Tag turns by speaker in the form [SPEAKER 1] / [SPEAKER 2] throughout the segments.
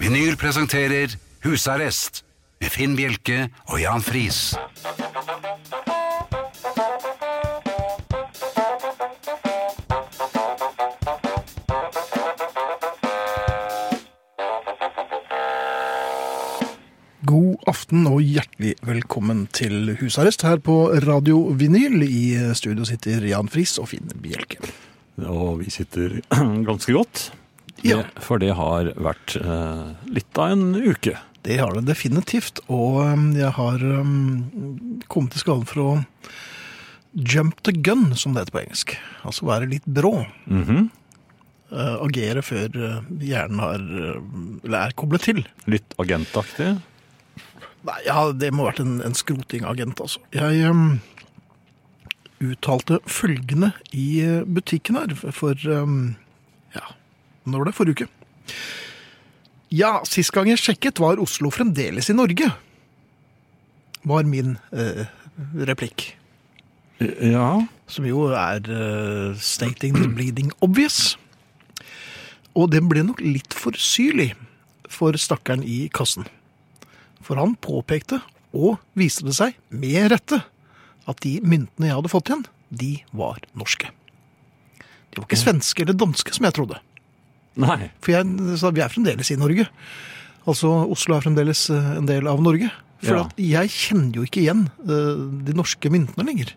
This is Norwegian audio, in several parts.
[SPEAKER 1] Vinyl presenterer Husarrest med Finn Bjelke og Jan Friis.
[SPEAKER 2] God aften og hjertelig velkommen til husarrest her på Radio Vinyl. I studio sitter Jan Friis og Finn Bjelke.
[SPEAKER 3] Og vi sitter ganske godt.
[SPEAKER 2] Ja.
[SPEAKER 3] Det, for det har vært eh, litt av en uke.
[SPEAKER 2] Det har det definitivt, og um, jeg har um, kommet i skade for å jump the gun, som det heter på engelsk. Altså være litt brå. Eh, agere før eh, hjernen har, eh, eller er koblet til.
[SPEAKER 3] Litt agentaktig.
[SPEAKER 2] Nei, ja, det må ha vært en, en skrotingagent, altså. Jeg em, uttalte følgende i eh, butikken her for em, Ja, når var det? Forrige uke. Ja, sist gang jeg sjekket, var Oslo fremdeles i Norge. Var min eh, replikk.
[SPEAKER 3] Ja.
[SPEAKER 2] Som jo er eh, stating the bleeding obvious. Og den ble nok litt for syrlig for stakkaren i kassen. For han påpekte, og viste det seg med rette, at de myntene jeg hadde fått igjen, de var norske. De var ikke svenske eller danske, som jeg trodde.
[SPEAKER 3] Nei.
[SPEAKER 2] For jeg sa vi er fremdeles i Norge. Altså Oslo er fremdeles eh, en del av Norge. For
[SPEAKER 3] Ja.
[SPEAKER 2] at jeg kjenner jo ikke igjen eh, de norske myntene lenger.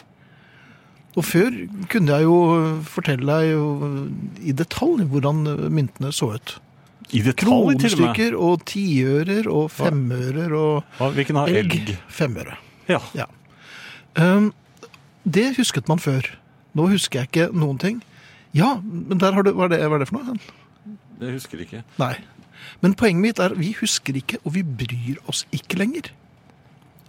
[SPEAKER 2] Og før kunne jeg jo eh, fortelle deg jo, eh, i detalj hvordan eh, myntene så ut.
[SPEAKER 3] I detalj, til og med.
[SPEAKER 2] Kronestykker og tiører og femører og
[SPEAKER 3] Ja, vi kunne ha elg.
[SPEAKER 2] elg. Femøre.
[SPEAKER 3] Ja.
[SPEAKER 2] Ja. Ehm, det husket man før. Nå husker jeg ikke noen ting. Ja, men der har du Hva er det, hva er det for noe?
[SPEAKER 3] Det husker jeg ikke.
[SPEAKER 2] Nei. Men poenget mitt er vi husker ikke, og vi bryr oss ikke lenger.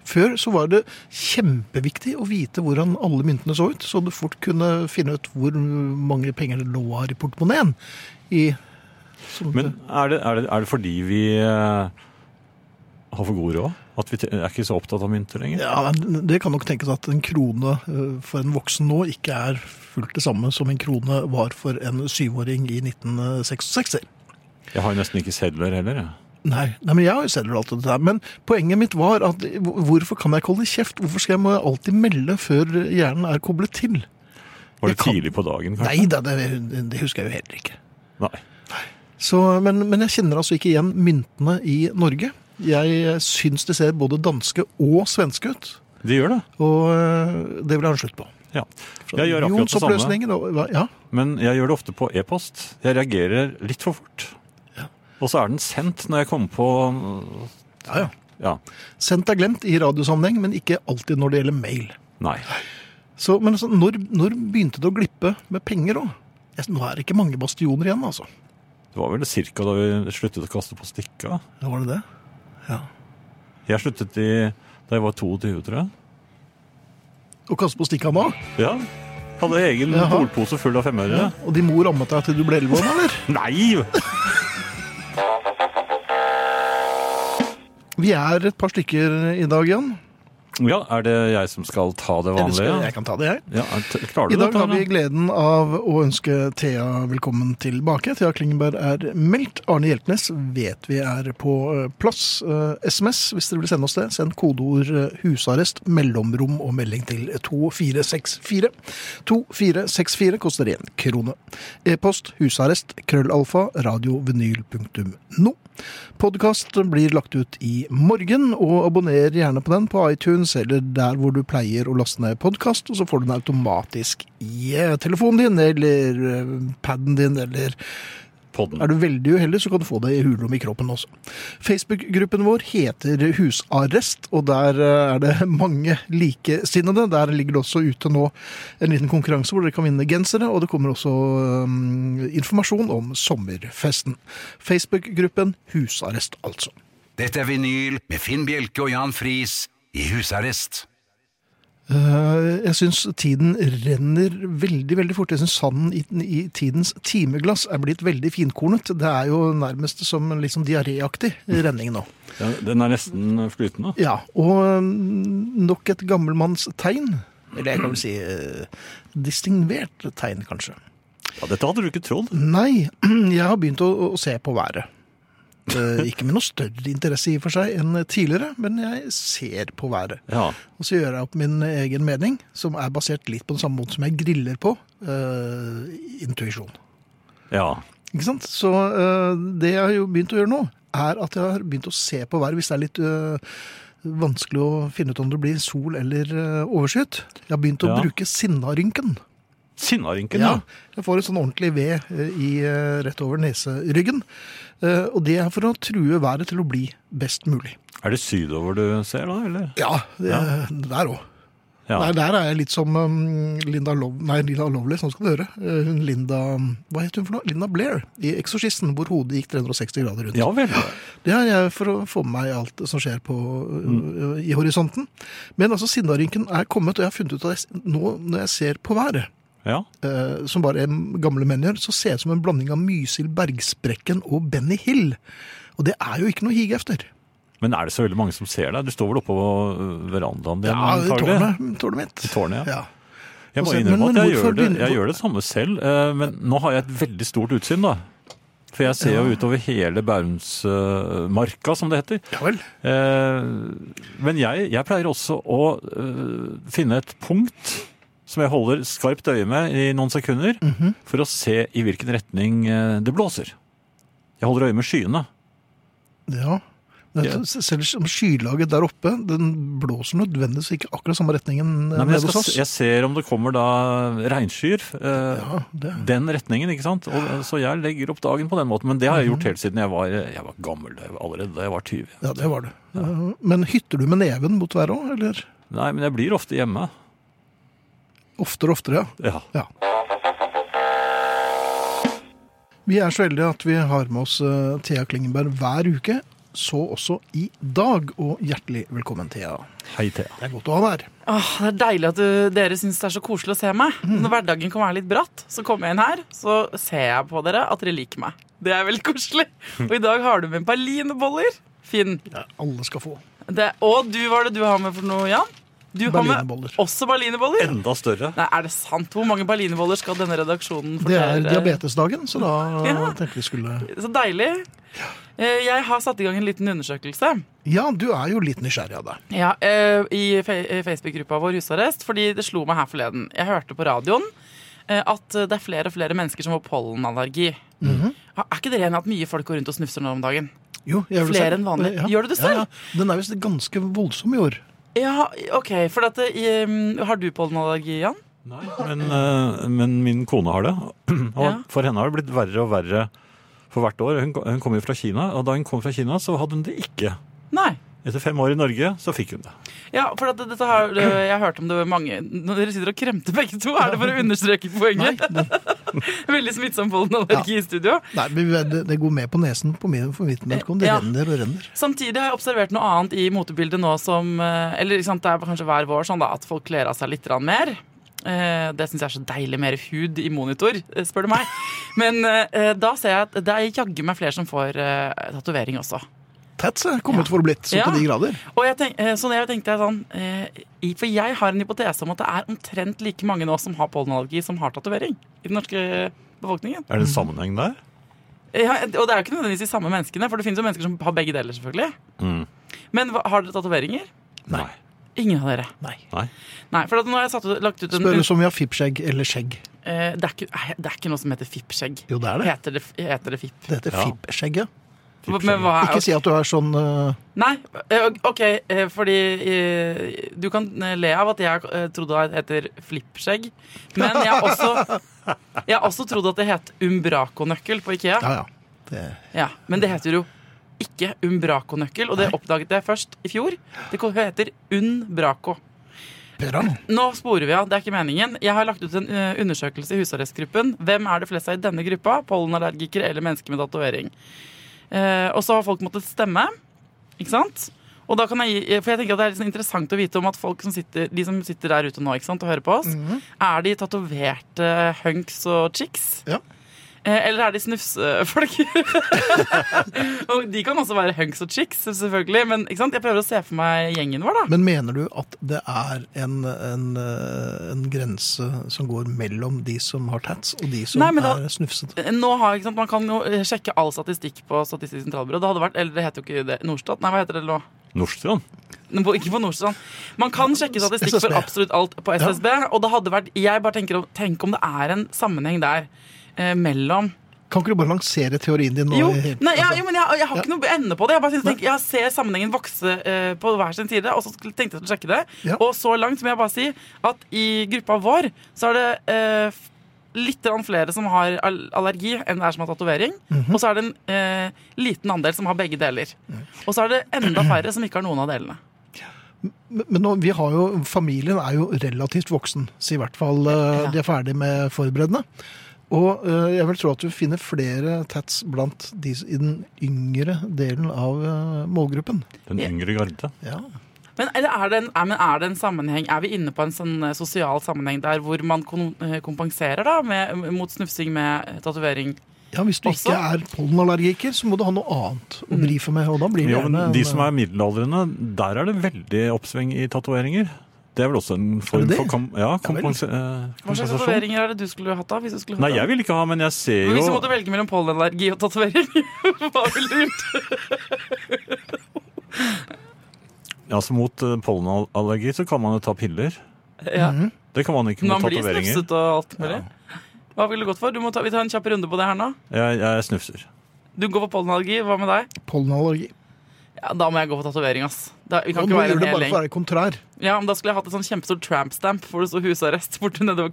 [SPEAKER 2] Før så var det kjempeviktig å vite hvordan alle myntene så ut, så du fort kunne finne ut hvor mange penger det lå her i portemoneen. I, som
[SPEAKER 3] Men er det, er det, er det fordi vi eh, har for god råd? At vi te- er ikke så opptatt av mynter lenger?
[SPEAKER 2] ja, men Det kan nok tenkes at en krone eh, for en voksen nå ikke er fullt det samme som en krone var for en syvåring i 1966.
[SPEAKER 3] Jeg har jo nesten ikke sedler heller. jeg.
[SPEAKER 2] Nei, nei, men jeg har jo selv alt det der. Men poenget mitt var at hvor- hvorfor kan jeg ikke holde kjeft? Hvorfor skal jeg må jeg alltid melde før hjernen er koblet til?
[SPEAKER 3] Var
[SPEAKER 2] Jeg
[SPEAKER 3] det
[SPEAKER 2] kan-
[SPEAKER 3] tidlig på dagen, kanskje?
[SPEAKER 2] Nei da, det, det husker jeg jo heller ikke.
[SPEAKER 3] Nei.
[SPEAKER 2] Så, men, men jeg kjenner altså ikke igjen myntene i Norge. Jeg syns de ser både danske og svenske ut.
[SPEAKER 3] De gjør det.
[SPEAKER 2] Og øh, det vil jeg ha en slutt på.
[SPEAKER 3] Ja. Jeg gjør akkurat det samme.
[SPEAKER 2] Jonsoppløsningen og- hva- Ja,
[SPEAKER 3] Men jeg gjør det ofte på e-post. Jeg reagerer litt for fort.
[SPEAKER 2] Ja.
[SPEAKER 3] Og så er den sendt når jeg kommer på
[SPEAKER 2] ja, ja.
[SPEAKER 3] Ja.
[SPEAKER 2] Sendt er glemt i radiosammenheng, men ikke alltid når det gjelder mail.
[SPEAKER 3] Nei.
[SPEAKER 2] Så, men altså, når, når begynte det å glippe med penger òg? Nå er det ikke mange bastioner igjen, altså.
[SPEAKER 3] Det var vel cirka da vi sluttet å kaste på stikka.
[SPEAKER 2] Ja, var det det? Ja.
[SPEAKER 3] Jeg sluttet i da jeg var 22, tror jeg.
[SPEAKER 2] Og kaste på stikka nå?
[SPEAKER 3] Ja. Hadde egen
[SPEAKER 2] Jaha.
[SPEAKER 3] polpose full av femmere.
[SPEAKER 2] Og din mor ammet deg til du ble elleve år, eller?
[SPEAKER 3] Nei!
[SPEAKER 2] Vi er et par stykker i dag, Jan.
[SPEAKER 3] Ja, er det jeg som skal ta det
[SPEAKER 2] Eller skal-
[SPEAKER 3] vanlige?
[SPEAKER 2] Jeg kan ta det, jeg.
[SPEAKER 3] Ja, t- klarer
[SPEAKER 2] I
[SPEAKER 3] du
[SPEAKER 2] dag
[SPEAKER 3] dette?
[SPEAKER 2] har vi
[SPEAKER 3] Arne?
[SPEAKER 2] gleden av å ønske Thea velkommen tilbake. Thea Klingenberg er meldt. Arne Hjeltnes vet vi er på eh, plass. Eh, SMS, hvis dere vil sende oss det, send kodeord eh, 'husarrest', mellomrom og melding til 2464. 2464 koster én krone. E-post husarrest krøllalfa radiovinyl.no. Podkast blir lagt ut i morgen, og abonner gjerne på den på iTunes eller der hvor du pleier å laste ned podkast, og så får du den automatisk i eh, telefonen din eller eh, paden din eller
[SPEAKER 3] Podden.
[SPEAKER 2] er du veldig uheldig, så kan du få det i hulrom i kroppen også. Facebook-gruppen vår heter Husarrest, og der eh, er det mange likesinnede. Der ligger det også ute nå en liten konkurranse hvor dere kan vinne gensere, og det kommer også eh, informasjon om sommerfesten. Facebook-gruppen Husarrest, altså.
[SPEAKER 1] Dette er vinyl med Finn Bjelke og Jan Friis i husarrest.
[SPEAKER 2] Eh, Jeg syns tiden renner veldig veldig fort. Jeg syns sanden i, i tidens timeglass er blitt veldig finkornet. Det er jo nærmest som en liksom diaréaktig renning nå.
[SPEAKER 3] Ja, Den er nesten flytende.
[SPEAKER 2] Ja, og øhm, nok et gammelmannstegn. Eller jeg kan vel si øh, distingvert tegn, kanskje.
[SPEAKER 3] Ja, dette hadde du ikke trodd.
[SPEAKER 2] Nei, jeg har begynt å, å se på været. eh, ikke med noe større interesse i og for seg enn tidligere, men jeg ser på været.
[SPEAKER 3] Ja.
[SPEAKER 2] Og så gjør jeg opp min egen mening, som er basert litt på den samme måten som jeg griller på. eh, intuisjon.
[SPEAKER 3] ja.
[SPEAKER 2] Ikke sant? Så eh, det jeg har jo begynt å gjøre nå, er at jeg har begynt å se på været hvis det er litt eh, vanskelig å finne ut om det blir sol eller eh, overskyet. Jeg har begynt å
[SPEAKER 3] Ja.
[SPEAKER 2] bruke sinnarynken.
[SPEAKER 3] Sinnarynken,
[SPEAKER 2] Ja,
[SPEAKER 3] ja.
[SPEAKER 2] jeg får en sånn ordentlig ved eh, i, eh, rett over neseryggen. Eh, Og det er for å true været til å bli best mulig.
[SPEAKER 3] Er det sydover du ser, da? eller?
[SPEAKER 2] Ja, det, der òg.
[SPEAKER 3] Ja.
[SPEAKER 2] Der, der er jeg litt som um, Linda, Lov nei, Linda Lovely, sånn skal du høre. Eh, hun Linda Hva het hun for noe? Linda Blair i 'Eksorsisten', hvor hodet gikk 360 grader rundt.
[SPEAKER 3] ja vel.
[SPEAKER 2] Det er jeg for å få med meg alt som skjer på,
[SPEAKER 3] Mm.
[SPEAKER 2] øh, i horisonten. Men altså, Sindarynken er kommet, og jeg har funnet ut at jeg, nå når jeg ser på været,
[SPEAKER 3] Ja.
[SPEAKER 2] øh, som bare gamle menn gjør, så ser jeg ut som en blanding av Mysil Bergsprekken og Benny Hill. Og det er jo ikke noe å hige efter.
[SPEAKER 3] Men er det så veldig mange som ser deg? Du står vel oppå øh, verandaen din?
[SPEAKER 2] Ja,
[SPEAKER 3] antagelig?
[SPEAKER 2] tårnet, tårnet mitt.
[SPEAKER 3] I tårnet, ja.
[SPEAKER 2] Ja.
[SPEAKER 3] Jeg må
[SPEAKER 2] Og så-
[SPEAKER 3] innrømme
[SPEAKER 2] men-
[SPEAKER 3] at
[SPEAKER 2] men
[SPEAKER 3] jeg
[SPEAKER 2] hvorfor
[SPEAKER 3] gjør, det,
[SPEAKER 2] begynner-
[SPEAKER 3] jeg gjør det samme selv, eh, men nå har jeg et veldig stort utsyn, da. For jeg ser jo utover hele Bærumsmarka, som det heter.
[SPEAKER 2] ja vel.
[SPEAKER 3] Eh, Men jeg, jeg pleier også å eh, finne et punkt som jeg holder skarpt øye med i noen sekunder,
[SPEAKER 2] Mm.
[SPEAKER 3] for å se i hvilken retning eh, det blåser. Jeg holder øye med skyene.
[SPEAKER 2] Ja. Men
[SPEAKER 3] Ja.
[SPEAKER 2] Selv om skylaget der oppe, den blåser nødvendigvis ikke akkurat samme retningen
[SPEAKER 3] Nei,
[SPEAKER 2] øh,
[SPEAKER 3] men jeg,
[SPEAKER 2] nede hos
[SPEAKER 3] skal,
[SPEAKER 2] oss.
[SPEAKER 3] se- jeg ser om det kommer da regnskyer. eh,
[SPEAKER 2] Ja, det.
[SPEAKER 3] den retningen, ikke sant? Og, så jeg legger opp dagen på den måten, men det har jeg gjort helt siden jeg var, eh, jeg var gammel, jeg var allerede da jeg var 20.
[SPEAKER 2] Ja, det var det. Men hytter du med neven mot været òg, eller?
[SPEAKER 3] Nei, men jeg blir ofte hjemme.
[SPEAKER 2] Oftere og oftere, ja.
[SPEAKER 3] Ja.
[SPEAKER 2] ja. Vi er så heldige at vi har med oss eh, Thea Klingenberg hver uke, så også i dag. Og hjertelig velkommen, Thea.
[SPEAKER 3] Hei, Thea.
[SPEAKER 2] Det er godt å ha deg her.
[SPEAKER 4] Åh, det er deilig at du, dere syns det er så koselig å se meg.
[SPEAKER 2] Mm.
[SPEAKER 4] Når hverdagen kan være litt bratt, så kommer jeg inn her, så ser jeg på dere at dere liker meg. Det er veldig koselig. Og i dag har du med berlineboller. Finn.
[SPEAKER 2] Ja, alle skal få.
[SPEAKER 4] Det, og du, hva er det du har med for noe, Jan? Du har med
[SPEAKER 2] Berlineboller.
[SPEAKER 4] også berlineboller?
[SPEAKER 3] Enda større.
[SPEAKER 4] Nei, er det sant? Hvor mange berlineboller skal denne redaksjonen
[SPEAKER 2] Det er
[SPEAKER 4] fortelle?
[SPEAKER 2] diabetesdagen, så da
[SPEAKER 4] eh, Ja.
[SPEAKER 2] tenkte vi skulle
[SPEAKER 4] Så deilig. Eh, Jeg har satt i gang en liten undersøkelse.
[SPEAKER 2] Ja, du er jo litt nysgjerrig av deg.
[SPEAKER 4] Ja, eh, I fe- eh, Facebook-gruppa vår Husarrest, fordi det slo meg her forleden. Jeg hørte på radioen eh, at det er flere og flere mennesker som får pollenallergi. Ha- Er ikke dere enig i at mye folk går rundt og snufser nå om dagen?
[SPEAKER 2] Jo, jeg gjør det
[SPEAKER 4] Flere
[SPEAKER 2] selv.
[SPEAKER 4] enn vanlig.
[SPEAKER 2] Ja.
[SPEAKER 4] Gjør du det selv?
[SPEAKER 2] Ja, ja. Den er visst ganske voldsom i år.
[SPEAKER 4] Ja, OK. For at, eh, mm, har du pollenallergi, Jan?
[SPEAKER 3] Nei, men, eh, men min kone har det, og
[SPEAKER 4] Ja.
[SPEAKER 3] for henne har det blitt verre og verre for hvert år. Hun, hun kom jo fra Kina, og da hun kom fra Kina så hadde hun det ikke.
[SPEAKER 4] Nei.
[SPEAKER 3] Etter fem år i Norge så fikk hun det.
[SPEAKER 4] Ja, for at det- dette har, eh, Jeg har hørt om det mange Når Dere sitter og kremter begge to. Er det for å understreke poenget? Veldig smittsom pollenallergi i studio.
[SPEAKER 2] Nei, men det, det går med på nesen på min, for mitt vedkommende. Det
[SPEAKER 4] Ja.
[SPEAKER 2] renner og renner.
[SPEAKER 4] Samtidig har jeg observert noe annet i motebildet nå som eh, Eller ikke sant, det er kanskje hver vår sånn da, at folk kler av seg litt grann mer. Eh, Det syns jeg er så deilig. Mer hud i monitor, eh, spør du meg. Men eh, da ser jeg at det er jaggu meg flere som får eh, tatovering også.
[SPEAKER 2] Tats er kommet for å blitt, så
[SPEAKER 4] Ja.
[SPEAKER 2] til de grader.
[SPEAKER 4] Og jeg tenk, eh, så når jeg tenkte jeg sånn eh, i- For jeg har en hypotese om at det er omtrent like mange nå som har pollenallergi, som har tatovering i den norske eh, befolkningen.
[SPEAKER 3] Er det en sammenheng der?
[SPEAKER 4] Ja, og det er jo ikke nødvendigvis de samme menneskene, for det finnes jo mennesker som har begge deler, selvfølgelig.
[SPEAKER 3] Mm.
[SPEAKER 4] Men hva- har dere tatoveringer?
[SPEAKER 3] Nei.
[SPEAKER 4] Ingen av dere.
[SPEAKER 2] Nei.
[SPEAKER 3] Nei.
[SPEAKER 4] Nei, for at nå har jeg satt ut, lagt ut en,
[SPEAKER 2] Spør oss om vi har fippskjegg eller skjegg.
[SPEAKER 4] eh, det, er ikke, nei, det er ikke noe som heter fippskjegg.
[SPEAKER 2] Jo, det er det.
[SPEAKER 4] Heter det, heter det fipp?
[SPEAKER 2] Det heter
[SPEAKER 3] Ja.
[SPEAKER 2] fippskjegg, ja.
[SPEAKER 4] Men hva er
[SPEAKER 2] Ikke si at du er sånn eh,
[SPEAKER 4] Nei, eh, OK, eh, fordi eh, Du kan eh, le av at jeg eh, trodde det heter flippskjegg, men jeg har også Jeg har også trodd at det het umbrakonøkkel på Ikea.
[SPEAKER 2] Ja, ja. Det,
[SPEAKER 4] Ja, men det heter jo ikke umbrakonøkkel, og det oppdaget jeg først i fjor. Det ko- heter unbraco.
[SPEAKER 2] Per Arne,
[SPEAKER 4] Nå sporer vi av, det er ikke meningen. Jeg har lagt ut en eh, undersøkelse i husarrestgruppen. Hvem er det flest av i denne gruppa? Pollenallergikere eller mennesker med tatovering? Eh, og så har folk måttet stemme, ikke sant? Og da kan jeg gi, for jeg tenker at det er litt sånn interessant å vite om at folk som sitter, de som sitter der ute nå ikke sant, og hører på oss, er de tatoverte hunks og chicks?
[SPEAKER 2] Ja.
[SPEAKER 4] Eh, Eller er de snufsefolk? og de kan også være hunks og chicks, selvfølgelig. Men ikke sant? jeg prøver å se for meg gjengen vår, da.
[SPEAKER 2] Men mener du at det er en, en, eh, en grense som går mellom de som har tats, og de som
[SPEAKER 4] Nei, men da-
[SPEAKER 2] er snufsete?
[SPEAKER 4] Nå har, ikke sant, Man kan jo eh, sjekke all statistikk på Statistisk sentralbyrå. Det hadde vært, eller det heter jo ikke det, Norstat. Nei, hva heter det nå?
[SPEAKER 3] Nordstrand.
[SPEAKER 4] Nå bo- Ikke på Nordstrand. Man kan sjekke statistikk
[SPEAKER 2] SSB.
[SPEAKER 4] for absolutt alt på SSB. Og det hadde vært, jeg bare tenker om, tenk om det er en sammenheng der eh, mellom
[SPEAKER 2] Kan ikke du bare lansere teorien din nå?
[SPEAKER 4] Jo,
[SPEAKER 2] i-
[SPEAKER 4] nei, ja,
[SPEAKER 2] altså,
[SPEAKER 4] jo men jeg, jeg har ikke noe ende på det. Jeg bare synes,
[SPEAKER 2] Nei.
[SPEAKER 4] tenk, jeg ser sammenhengen vokse eh, på hver sin side, og så skulle- tenkte jeg å sjekke det.
[SPEAKER 2] Ja.
[SPEAKER 4] Og så langt må jeg bare si at i gruppa vår så er det eh, f- litt grann flere som har al- allergi enn det er som har tatovering.
[SPEAKER 2] Mhm.
[SPEAKER 4] Og så er det en eh, liten andel som har begge deler. Og så er det enda færre som ikke har noen av delene.
[SPEAKER 2] Men men nå, vi har jo, familien er jo relativt voksen, så i hvert fall eh,
[SPEAKER 4] Ja.
[SPEAKER 2] de er ferdig med forberedende. Og eh, jeg vil tro at du finner flere tats blant de s- i den yngre delen av eh, målgruppen.
[SPEAKER 3] Den
[SPEAKER 4] Ja.
[SPEAKER 3] yngre garde.
[SPEAKER 2] Ja.
[SPEAKER 4] Men eller er, det en, er, men er det en sammenheng Er vi inne på en sånn eh, sosial sammenheng der hvor man kon- eh, kompenserer da med, mot snufsing med eh, tatovering?
[SPEAKER 2] ja, Hvis du
[SPEAKER 4] Også- Mm.
[SPEAKER 2] ikke er pollenallergiker, så må du ha noe annet å drive med. Og da blir det
[SPEAKER 3] Jo, men
[SPEAKER 2] gjerne
[SPEAKER 3] de
[SPEAKER 2] en,
[SPEAKER 3] som er middelaldrende, der er det veldig oppsving i tatoveringer. Det er vel også en form
[SPEAKER 2] Er det det?
[SPEAKER 3] for kom ja,
[SPEAKER 2] vel.
[SPEAKER 3] kompensa eh,
[SPEAKER 4] Hva slags
[SPEAKER 3] kompensasjon.
[SPEAKER 4] tatoveringer er det du skulle hatt da? Hvis du skulle hatt
[SPEAKER 3] Nei,
[SPEAKER 4] da?
[SPEAKER 3] jeg vil ikke ha, men jeg ser
[SPEAKER 4] Men Hvis du
[SPEAKER 3] jo
[SPEAKER 4] måtte velge mellom pollenallergi og tatovering, hva ville du gjort?
[SPEAKER 3] Altså Mot eh, pollenallergi så kan man jo ta piller.
[SPEAKER 4] Ja.
[SPEAKER 2] Mhm.
[SPEAKER 3] Det kan man ikke
[SPEAKER 4] Man
[SPEAKER 3] mot
[SPEAKER 4] blir
[SPEAKER 3] tatoveringer.
[SPEAKER 4] snufset og alt mulig. Hva ville du gått for? Du må ta, vi tar en kjapp runde på det her nå.
[SPEAKER 3] Jeg, jeg snufser.
[SPEAKER 4] Du går for pollenallergi. Hva med deg?
[SPEAKER 2] eh, pollenallergi.
[SPEAKER 4] Ja, da må jeg gå for tatovering, ass. Da, vi kan
[SPEAKER 2] Og
[SPEAKER 4] ikke
[SPEAKER 2] nå
[SPEAKER 4] være
[SPEAKER 2] gjør
[SPEAKER 4] en
[SPEAKER 2] det
[SPEAKER 4] hel
[SPEAKER 2] bare for å
[SPEAKER 4] gjeng.
[SPEAKER 2] være kontrær.
[SPEAKER 4] Ja, men da skulle jeg hatt et sånn kjempestort tramp-stamp hvor det sto husarrest borte nedover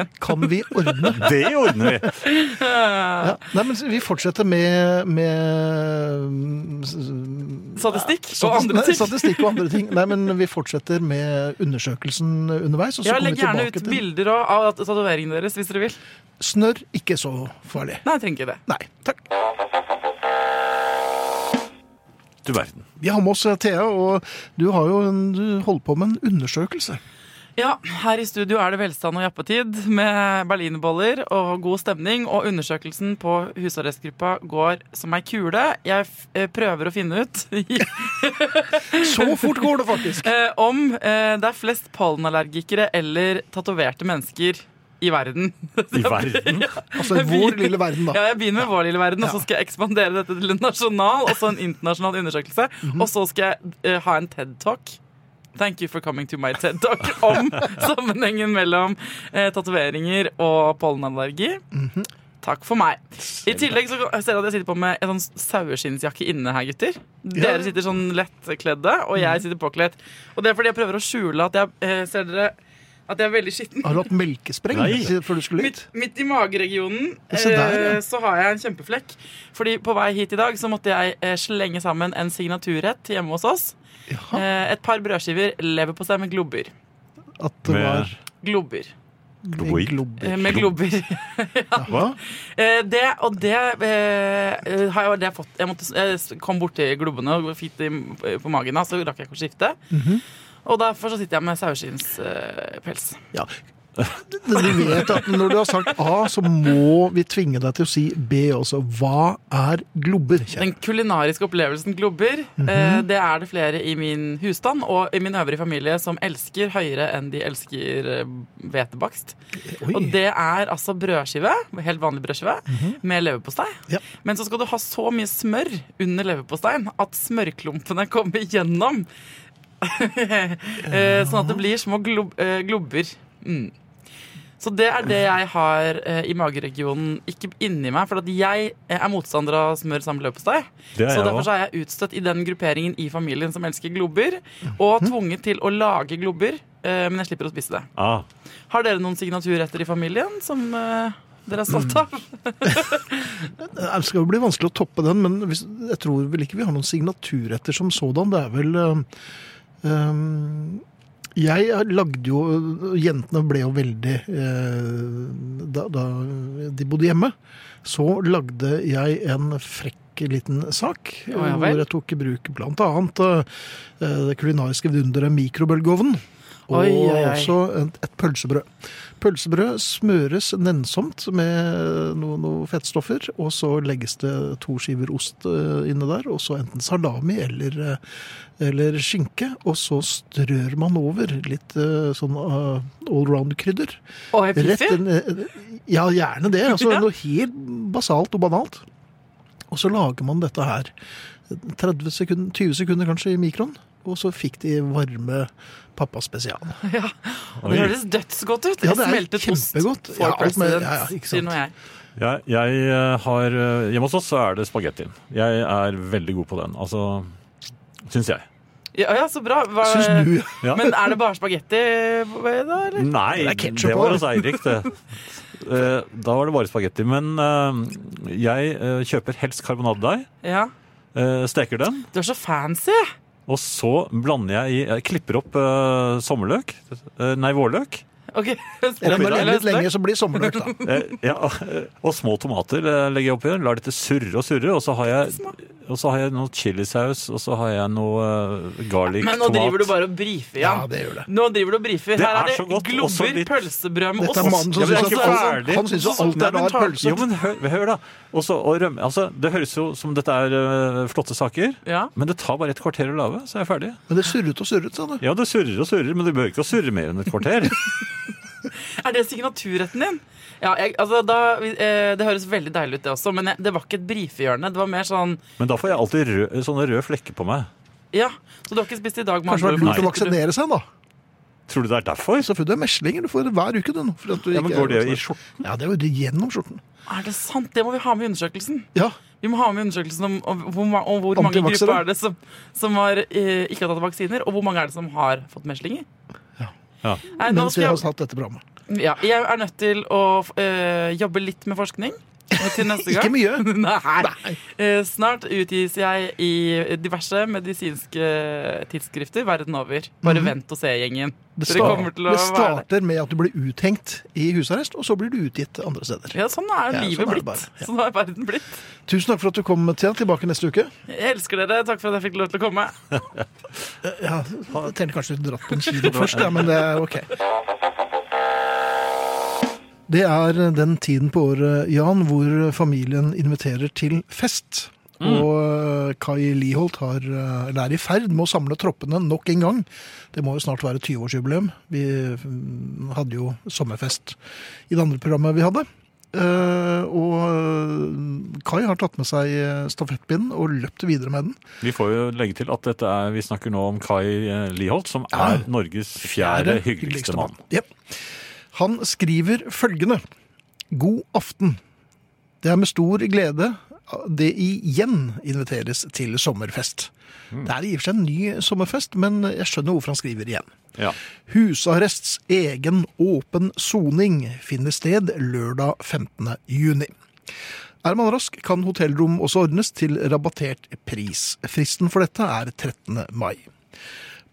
[SPEAKER 2] Det
[SPEAKER 4] min.
[SPEAKER 2] kan vi ordne.
[SPEAKER 3] Det ordner vi!
[SPEAKER 2] Ja. Nei, men Vi fortsetter med, med mm,
[SPEAKER 4] Statistikk og
[SPEAKER 2] Statis-
[SPEAKER 4] andre
[SPEAKER 2] nei,
[SPEAKER 4] ting.
[SPEAKER 2] Statistikk og andre ting. Nei, men vi fortsetter med undersøkelsen underveis. Og så
[SPEAKER 4] Ja,
[SPEAKER 2] kommer
[SPEAKER 4] legg
[SPEAKER 2] vi
[SPEAKER 4] gjerne
[SPEAKER 2] tilbake
[SPEAKER 4] ut
[SPEAKER 2] til
[SPEAKER 4] bilder og- av tatoveringene deres hvis dere vil.
[SPEAKER 2] Snørr ikke så farlig.
[SPEAKER 4] Nei, jeg trenger ikke det.
[SPEAKER 2] Nei, takk.
[SPEAKER 3] Du verden.
[SPEAKER 2] Vi har med oss eh, Thea, og du har jo en, du holder på med en undersøkelse.
[SPEAKER 4] Ja, her i studio er det velstand og jappetid med berlinerboller og god stemning, og undersøkelsen på husarrestgruppa går som ei kule. Jeg f eh, prøver å finne ut
[SPEAKER 2] Så fort går det faktisk!
[SPEAKER 4] eh, om eh, det er flest pollenallergikere eller tatoverte mennesker i verden.
[SPEAKER 3] I verden.
[SPEAKER 2] Altså i vår lille verden, da.
[SPEAKER 4] Ja, jeg begynner med vår lille verden, og så skal jeg ekspandere dette til en nasjonal og så en internasjonal undersøkelse.
[SPEAKER 2] Mhm.
[SPEAKER 4] Og så skal jeg eh, ha en TED-talk. Thank you for coming to my TED-talk om sammenhengen mellom uh, tatoveringer og pollenallergi.
[SPEAKER 2] Mhm.
[SPEAKER 4] Takk for meg. I tillegg så kan- jeg ser jeg at jeg sitter på med en sånn saueskinnsjakke inne her, gutter. Dere
[SPEAKER 2] Ja. Mhm.
[SPEAKER 4] sitter sånn lettkledde, og jeg sitter påkledd. Og det er fordi jeg prøver å skjule at jeg eh, ser dere at jeg er veldig skitten.
[SPEAKER 2] Har du hatt melkespreng
[SPEAKER 3] Nei.
[SPEAKER 2] siden- før du skulle hit?
[SPEAKER 4] Midt, midt i mageregionen
[SPEAKER 2] Se der, ja.
[SPEAKER 4] eh, så har jeg en kjempeflekk. Fordi på vei hit i dag så måtte jeg eh, slenge sammen en signaturrett hjemme hos oss.
[SPEAKER 2] Jaha,
[SPEAKER 4] Eh, et par brødskiver leverpostei med globber.
[SPEAKER 2] at det var
[SPEAKER 4] Globber.
[SPEAKER 3] Globoid.
[SPEAKER 4] Eh, med
[SPEAKER 3] Glob-
[SPEAKER 4] globber.
[SPEAKER 3] Hva?
[SPEAKER 4] Eh, det, og det eh, eh, har jeg, det har jeg fått Jeg, måtte, jeg kom borti globbene og fikk det i- eh, på magen, da, så rakk jeg ikke å skifte.
[SPEAKER 2] Mhm.
[SPEAKER 4] Og derfor så sitter jeg med saueskinnspels. Eh, pels.
[SPEAKER 2] Ja. Du vet at når du har sagt A, så må vi tvinge deg til å si B også. Hva er globber? kjære?
[SPEAKER 4] Den kulinariske opplevelsen globber, eh, det er det flere i min husstand og i min øvrige familie som elsker høyere enn de elsker eh, hvetebakst.
[SPEAKER 2] Oi.
[SPEAKER 4] Og det er altså brødskive, helt vanlig brødskive, med leverpostei.
[SPEAKER 2] Ja.
[SPEAKER 4] Men så skal du ha så mye smør under leverposteien at smørklumpene kommer igjennom. Eh, sånn at det blir små glob eh, globber. Mm. Så det er det jeg har eh, i mageregionen, ikke inni meg. For at jeg eh, er motstander av smør sammen med leverpostei.
[SPEAKER 3] Det er
[SPEAKER 4] Så
[SPEAKER 3] jeg
[SPEAKER 4] derfor
[SPEAKER 3] òg.
[SPEAKER 4] så er jeg utstøtt i den grupperingen i familien som elsker globber, og
[SPEAKER 3] Mhm.
[SPEAKER 4] tvunget til å lage globber, eh, men jeg slipper å spise det.
[SPEAKER 3] Ah,
[SPEAKER 4] Har dere noen signaturretter i familien som eh, dere er stolt av?
[SPEAKER 2] Eh, Det skal jo bli vanskelig å toppe den, men hvis, jeg tror vel ikke vi har noen signaturretter som sådan. Det er vel eh, ehm, Jeg lagde jo eh, Jentene ble jo veldig eh, da, da de bodde hjemme, så lagde jeg en frekk liten sak,
[SPEAKER 4] ja vel.
[SPEAKER 2] hvor jeg tok i bruk blant annet eh, det kulinariske vidunderet mikrobølgeovnen. og
[SPEAKER 4] Oi, oi, oi.
[SPEAKER 2] også et, et pølsebrød. Pølsebrød smøres nennsomt med noe, noe fettstoffer, og så legges det to skiver ost eh, inne der, og så enten salami eller, eh, eller skinke, og så strør man over litt eh, sånn eh, allround-krydder.
[SPEAKER 4] Og jeg
[SPEAKER 2] Rett
[SPEAKER 4] piffer.
[SPEAKER 2] inn, eh, ja, gjerne det. Altså,
[SPEAKER 4] Ja.
[SPEAKER 2] Noe helt basalt og banalt. Og så lager man dette her 30 sekunder, 20 sekunder kanskje i mikroen. Og så fikk de varme pappa spesial.
[SPEAKER 4] Det høres dødsgodt ut.
[SPEAKER 2] Ja,
[SPEAKER 4] Jeg
[SPEAKER 2] det er
[SPEAKER 4] smeltet ost
[SPEAKER 2] kjempegodt.
[SPEAKER 4] for
[SPEAKER 2] Ja, alt med-
[SPEAKER 4] president,
[SPEAKER 2] ja, ja, ikke
[SPEAKER 4] sier
[SPEAKER 2] sant.
[SPEAKER 4] nå jeg.
[SPEAKER 3] Jeg, jeg eh, har eh, Hjemme hos oss så er det spagettien. Jeg er veldig god på den. Altså Syns jeg.
[SPEAKER 4] Ja, ja, så bra. Hva,
[SPEAKER 2] Syns du?
[SPEAKER 3] Ja. Mm.
[SPEAKER 4] Men er det bare spagetti eh, da, eller?
[SPEAKER 3] Nei,
[SPEAKER 2] Det er
[SPEAKER 3] det,
[SPEAKER 2] ketchup på
[SPEAKER 3] var
[SPEAKER 2] det.
[SPEAKER 3] hos Eirik, det. Eh, Da var det bare spagetti. Men eh, jeg eh, kjøper helst karbonadedeig,
[SPEAKER 4] Ja.
[SPEAKER 3] eh, steker den,
[SPEAKER 4] Du er så fancy.
[SPEAKER 3] og så blander jeg i Jeg klipper opp eh, sommerløk. Eh, Nei, vårløk.
[SPEAKER 4] Ok,
[SPEAKER 2] Eller når det er litt
[SPEAKER 4] Eller-
[SPEAKER 2] lenge, så blir det sommerløk, da.
[SPEAKER 3] Eh, ja, og små tomater eh, legger jeg oppi. Lar dette surre og surre. Og så har jeg, og så har jeg noe chilisaus, og så har jeg noe eh, garlic
[SPEAKER 4] Men nå driver du
[SPEAKER 3] tomat.
[SPEAKER 4] bare og brifer,
[SPEAKER 2] Ja,
[SPEAKER 4] Jan.
[SPEAKER 2] det gjør det.
[SPEAKER 4] Nå driver du og brifer.
[SPEAKER 3] Det
[SPEAKER 4] Her
[SPEAKER 3] er
[SPEAKER 4] er det
[SPEAKER 3] så godt, også
[SPEAKER 4] globber,
[SPEAKER 3] litt-
[SPEAKER 4] pølsebrød med ost.
[SPEAKER 2] Dette er mannen som syns
[SPEAKER 3] Ja, men jeg er
[SPEAKER 2] at,
[SPEAKER 3] ikke
[SPEAKER 2] alt-
[SPEAKER 3] ferdig.
[SPEAKER 2] han synes at alt
[SPEAKER 4] Nei,
[SPEAKER 2] er
[SPEAKER 4] men
[SPEAKER 2] rar
[SPEAKER 4] ta-
[SPEAKER 2] pølse.
[SPEAKER 3] Jo, men hør, hør da. Også, og rømme, altså, det høres jo som dette er eh, flotte saker.
[SPEAKER 4] Ja.
[SPEAKER 3] Men det tar bare et kvarter å lage, så er jeg ferdig.
[SPEAKER 2] Men det surret og surret, sa du.
[SPEAKER 3] Ja, det surrer og surrer, men det bør ikke å surre mer enn et kvarter.
[SPEAKER 4] Er det signaturretten din? Ja, jeg, altså, da, eh, det høres veldig deilig ut, det også, men jeg, det var ikke et brifehjørne. Det var mer sånn
[SPEAKER 3] Men da får jeg alltid rød, sånne røde flekker på meg.
[SPEAKER 4] Ja, så du har ikke spist i dag? med
[SPEAKER 2] Kanskje det
[SPEAKER 4] andre
[SPEAKER 2] er
[SPEAKER 4] ord.
[SPEAKER 2] lurt å vaksinere seg, da.
[SPEAKER 3] Tror du det er derfor?
[SPEAKER 2] Så får du meslinger du får hver uke, du nå. for at du
[SPEAKER 3] Ja,
[SPEAKER 2] ikke
[SPEAKER 3] men
[SPEAKER 2] er
[SPEAKER 3] Går det i
[SPEAKER 2] vaksinert.
[SPEAKER 3] skjorten?
[SPEAKER 2] Ja, det er jo gjennom skjorten.
[SPEAKER 4] Er det sant? Det må vi ha med i undersøkelsen.
[SPEAKER 2] Ja,
[SPEAKER 4] Vi må ha med i undersøkelsen om, om, hvor ma- om hvor mange
[SPEAKER 2] Antivaksere.
[SPEAKER 4] grupper er det som, som har, eh, ikke har tatt vaksiner, og hvor mange er det som har fått meslinger.
[SPEAKER 2] Ja.
[SPEAKER 3] Ja.
[SPEAKER 4] Nei, nå
[SPEAKER 2] mens vi
[SPEAKER 4] skal
[SPEAKER 2] har
[SPEAKER 4] jeg,
[SPEAKER 2] hatt dette programmet.
[SPEAKER 4] ja, jeg er nødt til å eh, jobbe litt med forskning til neste
[SPEAKER 2] Ikke
[SPEAKER 4] gang.
[SPEAKER 2] mye.
[SPEAKER 4] Nei.
[SPEAKER 2] Nei.
[SPEAKER 4] Eh, Snart utgis jeg i diverse medisinske tidsskrifter verden over. Bare vent og se, gjengen.
[SPEAKER 2] Mhm. Det,
[SPEAKER 4] Dere
[SPEAKER 2] sta-
[SPEAKER 4] kommer til å
[SPEAKER 2] det
[SPEAKER 4] være der.
[SPEAKER 2] starter med at du blir uthengt i husarrest, og så blir du utgitt andre steder.
[SPEAKER 4] Ja, sånn er
[SPEAKER 2] Ja,
[SPEAKER 4] livet
[SPEAKER 2] sånn er det
[SPEAKER 4] blitt.
[SPEAKER 2] bare. Ja.
[SPEAKER 4] Sånn er verden blitt.
[SPEAKER 2] Tusen takk for at du kom, Thea. Tilbake neste uke.
[SPEAKER 4] Jeg elsker dere. Takk for at jeg fikk lov til å komme.
[SPEAKER 2] Ja, jeg tenkte kanskje du dratt på en kilo først, ja, men det er ok. Det er den tiden på året, Jan, hvor familien inviterer til fest. Og eh, Kai Liholt har, eh, eller er i ferd med å samle troppene nok en gang. Det må jo snart være 20-årsjubileum. Vi mm, hadde jo sommerfest i det andre programmet vi hadde. Eh, og eh, Kai har tatt med seg eh, stafettpinnen og løpt videre med den.
[SPEAKER 3] Vi får jo legge til at dette er, vi snakker nå om Kai eh, Liholt, som
[SPEAKER 2] Ja.
[SPEAKER 3] er Norges fjerde hyggeligste mann.
[SPEAKER 2] Jep. Han skriver følgende. God aften. Det er med stor glede det igjen inviteres til sommerfest.
[SPEAKER 3] Mm.
[SPEAKER 2] Det er i og for seg en ny sommerfest, men jeg skjønner hvorfor han skriver igjen.
[SPEAKER 3] Ja.
[SPEAKER 2] Husarrests egen åpen soning finner sted lørdag 15. juni. Er man rask, kan hotellrom også ordnes til rabattert pris. Fristen for dette er 13. mai.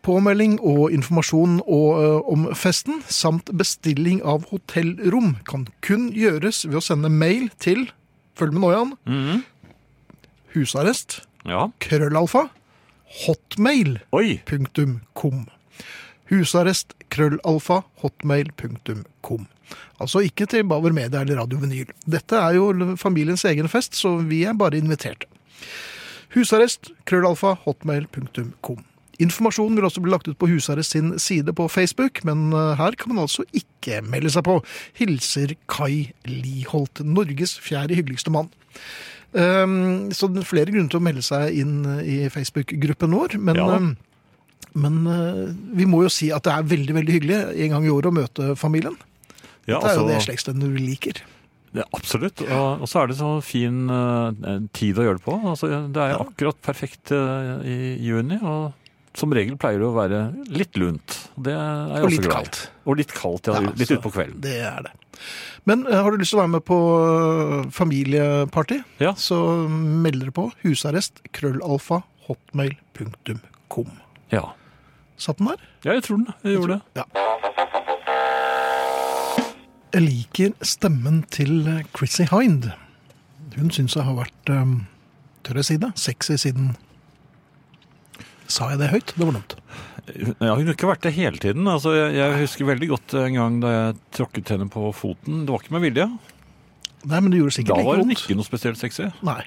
[SPEAKER 2] Påmelding og informasjon og, ø, om festen, samt bestilling av hotellrom, kan kun gjøres ved å sende mail til Følg med nå, Jan. Husarrest.
[SPEAKER 3] Mhm. ja.
[SPEAKER 2] Krøllalfa. Hotmail
[SPEAKER 3] Oi!
[SPEAKER 2] hotmail.com. Husarrest krøllalfa hotmail.com. Altså ikke til Bauer Media eller Radio Vinyl. Dette er jo familiens egen fest, så vi er bare inviterte. Husarrest krøllalfa hotmail.com. Informasjonen vil også bli lagt ut på Husarrest sin side på Facebook, men eh, her kan man altså ikke melde seg på. Hilser Kai Liholt, Norges fjerde hyggeligste mann. Um, så det er flere grunner til å melde seg inn eh, i Facebook-gruppen vår, men
[SPEAKER 3] Ja.
[SPEAKER 2] um, men eh, vi må jo si at det er veldig veldig hyggelig en gang i året å møte familien. det
[SPEAKER 3] Ja,
[SPEAKER 2] er jo
[SPEAKER 3] altså-
[SPEAKER 2] det slektsstedet du liker.
[SPEAKER 3] Ja, absolutt. Og, og så er det så fin eh, tid å gjøre det på. Altså, det er jo akkurat perfekt eh, i juni. og som regel pleier det å være litt lunt. Det er jeg
[SPEAKER 2] Og
[SPEAKER 3] også
[SPEAKER 2] litt
[SPEAKER 3] glad i.
[SPEAKER 2] kaldt.
[SPEAKER 3] Og litt kaldt, ja.
[SPEAKER 2] Ja,
[SPEAKER 3] litt
[SPEAKER 2] så-
[SPEAKER 3] utpå kvelden.
[SPEAKER 2] Det er det. Men eh, har du lyst til å være med på eh, familieparty,
[SPEAKER 3] Ja.
[SPEAKER 2] så meld dere på husarrest krøllalfa hotmail.com.
[SPEAKER 3] Ja.
[SPEAKER 2] Satt den der?
[SPEAKER 3] ja, jeg tror den jeg gjorde det.
[SPEAKER 2] Ja. Jeg liker stemmen til eh, Chrissy Hind. Hun syns jeg har vært um, tør jeg si det, sexy siden Sa jeg det høyt? Det var dumt.
[SPEAKER 3] Ja, hun har ikke vært det hele tiden. Altså, jeg, jeg husker veldig godt en gang da jeg tråkket henne på foten. Det var ikke med vilje.
[SPEAKER 2] Nei, men det gjorde
[SPEAKER 3] Da
[SPEAKER 2] sikkert
[SPEAKER 3] var
[SPEAKER 2] like
[SPEAKER 3] hun
[SPEAKER 2] vondt.
[SPEAKER 3] ikke noe spesielt sexy.
[SPEAKER 2] Nei.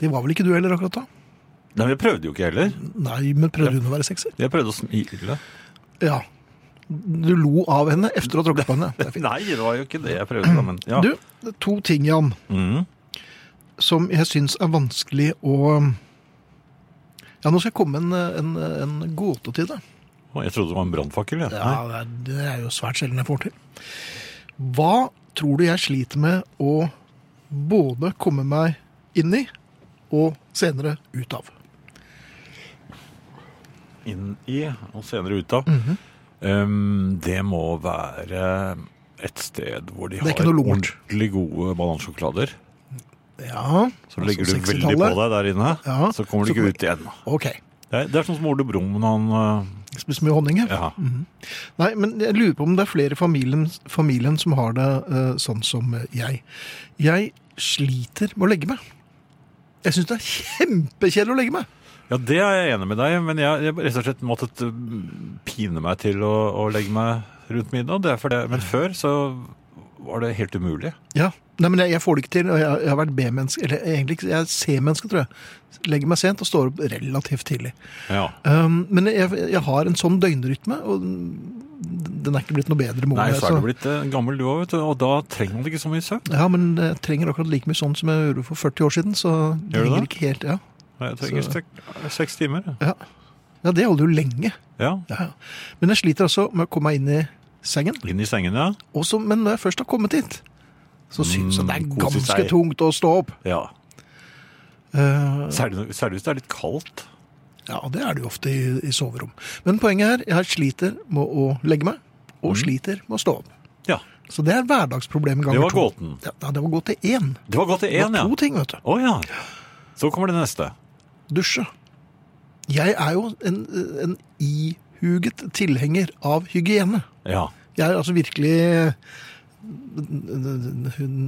[SPEAKER 2] Det var vel ikke du heller akkurat da?
[SPEAKER 3] Nei, men Jeg prøvde jo ikke heller.
[SPEAKER 2] Nei, men prøvde hun å være sexy?
[SPEAKER 3] Jeg prøvde å smile.
[SPEAKER 2] Ja. Du lo av henne efter å ha tråkket på henne. Det er fint.
[SPEAKER 3] Nei, det var jo ikke det jeg prøvde. da, Men, ja.
[SPEAKER 2] Du, det er to ting, Jan,
[SPEAKER 3] Mm.
[SPEAKER 2] som jeg syns er vanskelig å Ja, nå skal jeg komme med en, en, en gåte til deg.
[SPEAKER 3] Å, Jeg trodde det var en brannfakkel. jeg.
[SPEAKER 2] Ja, det er, det er jo svært sjelden jeg får til. Hva tror du jeg sliter med å både komme meg inn i og senere ut av?
[SPEAKER 3] Inn i, og senere ut av.
[SPEAKER 2] Mhm.
[SPEAKER 3] um, det må være et sted hvor de
[SPEAKER 2] er
[SPEAKER 3] har
[SPEAKER 2] ikke noe lort.
[SPEAKER 3] ordentlig gode banansjokolader.
[SPEAKER 2] Ja,
[SPEAKER 3] Så legger
[SPEAKER 2] altså
[SPEAKER 3] du veldig på
[SPEAKER 2] 60-tallet.
[SPEAKER 3] deg der inne,
[SPEAKER 2] Ja,
[SPEAKER 3] så kommer du
[SPEAKER 2] så
[SPEAKER 3] ikke ut igjen.
[SPEAKER 2] Ok.
[SPEAKER 3] Det er, det er sånn som Ole Brumm når han
[SPEAKER 2] Spiser mye honning,
[SPEAKER 3] øh,
[SPEAKER 2] jeg.
[SPEAKER 3] ja.
[SPEAKER 2] Nei, men jeg lurer på om det er flere i familien, familien som har det eh, sånn som jeg. Jeg sliter med å legge meg. Jeg syns det er kjempekjedelig å legge meg.
[SPEAKER 3] ja, det er jeg enig med deg men jeg jeg har rett og slett måttet øh, pine meg til å, å legge meg rundt middag. Det er for det. Men før så var det helt umulig.
[SPEAKER 2] Ja, Nei, men jeg, jeg får det ikke til. og Jeg, jeg har vært B-menneske, eller egentlig ikke, jeg er C-menneske, tror jeg. Legger meg sent og står opp relativt tidlig.
[SPEAKER 3] Ja.
[SPEAKER 2] Um, men jeg, jeg har en sånn døgnrytme, og den den er ikke blitt noe bedre. må
[SPEAKER 3] Nei,
[SPEAKER 2] jeg,
[SPEAKER 3] så er du
[SPEAKER 2] altså.
[SPEAKER 3] blitt eh, gammel du òg, vet du. Og da trenger man ikke så mye søvn.
[SPEAKER 2] Ja, men jeg trenger akkurat like mye sånn som jeg gjorde for 40 år siden. Så det
[SPEAKER 3] Gjør du
[SPEAKER 2] ligger
[SPEAKER 3] det?
[SPEAKER 2] ikke helt, ja.
[SPEAKER 3] Jeg trenger sek- seks timer.
[SPEAKER 2] ja. Ja, det holder jo lenge.
[SPEAKER 3] Ja.
[SPEAKER 2] Ja. Men jeg sliter altså med å komme meg inn i sengen.
[SPEAKER 3] Inn i sengen, ja.
[SPEAKER 2] Også, men når jeg først har kommet dit, så syns jeg det er
[SPEAKER 3] Mm, kose
[SPEAKER 2] ganske
[SPEAKER 3] seg.
[SPEAKER 2] tungt å stå opp.
[SPEAKER 3] ja.
[SPEAKER 2] Uh,
[SPEAKER 3] Særlig, særlig hvis det er litt kaldt.
[SPEAKER 2] Ja, det er det jo ofte i, i soverom. Men poenget er jeg sliter med å legge meg,
[SPEAKER 3] Mm.
[SPEAKER 2] og sliter med å stå opp.
[SPEAKER 3] Ja.
[SPEAKER 2] Så det er hverdagsproblemet
[SPEAKER 3] Det
[SPEAKER 2] ganger
[SPEAKER 3] var gåten.
[SPEAKER 2] Ja, nei, det var gåte én.
[SPEAKER 3] Det var godt i
[SPEAKER 2] Det var
[SPEAKER 3] én, ja.
[SPEAKER 2] to ting, vet du.
[SPEAKER 3] Å ja. Så kommer det neste.
[SPEAKER 2] Dusje. Jeg er jo en, en ihuget tilhenger av hygiene.
[SPEAKER 3] Ja.
[SPEAKER 2] Jeg er altså virkelig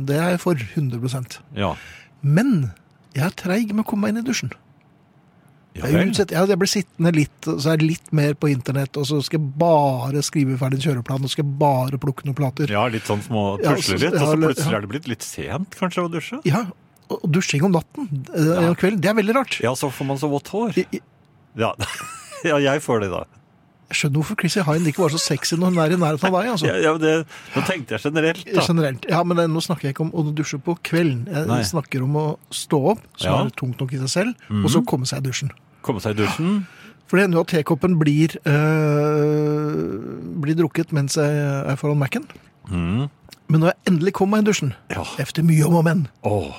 [SPEAKER 2] Det er jeg for 100
[SPEAKER 3] Ja.
[SPEAKER 2] Men jeg er treig med å komme meg inn i dusjen.
[SPEAKER 3] Ja,
[SPEAKER 2] Jeg,
[SPEAKER 3] vel.
[SPEAKER 2] utsett, jeg, jeg blir sittende litt, og så er det litt mer på internett, og så skal jeg bare skrive ferdig en kjøreplan, og så skal jeg bare plukke noen plater. Ja,
[SPEAKER 3] ja litt sånn små
[SPEAKER 2] Ja, så-
[SPEAKER 3] tusler litt, og
[SPEAKER 2] ja,
[SPEAKER 3] så
[SPEAKER 2] eller-
[SPEAKER 3] plutselig
[SPEAKER 2] ja.
[SPEAKER 3] er det blitt litt sent kanskje å dusje.
[SPEAKER 2] og og dusjing om natten eh,
[SPEAKER 3] Ja.
[SPEAKER 2] om kvelden, det er veldig rart.
[SPEAKER 3] Ja, så får man så vått hår.
[SPEAKER 2] Jeg, jeg-
[SPEAKER 3] Ja, ja jeg får det da.
[SPEAKER 2] jeg skjønner hvorfor Chrissy Hine ikke var så sexy når hun er i nærheten av deg, altså.
[SPEAKER 3] Ja, ja, men det, nå tenkte jeg generelt da.
[SPEAKER 2] Generelt. Ja, men det- nå snakker jeg ikke om å dusje på kvelden. Jeg
[SPEAKER 3] Nei.
[SPEAKER 2] snakker om å stå opp, som
[SPEAKER 3] Ja. Mm.
[SPEAKER 2] er tungt nok i seg selv, og så komme seg i dusjen.
[SPEAKER 3] Komme seg i dusjen.
[SPEAKER 2] For det hender jo at tekoppen blir, eh, blir drukket mens jeg er foran Mac-en.
[SPEAKER 3] Mm.
[SPEAKER 2] Men når jeg endelig kommer meg i dusjen,
[SPEAKER 3] Ja.
[SPEAKER 2] efter mye om og men,
[SPEAKER 3] Åh,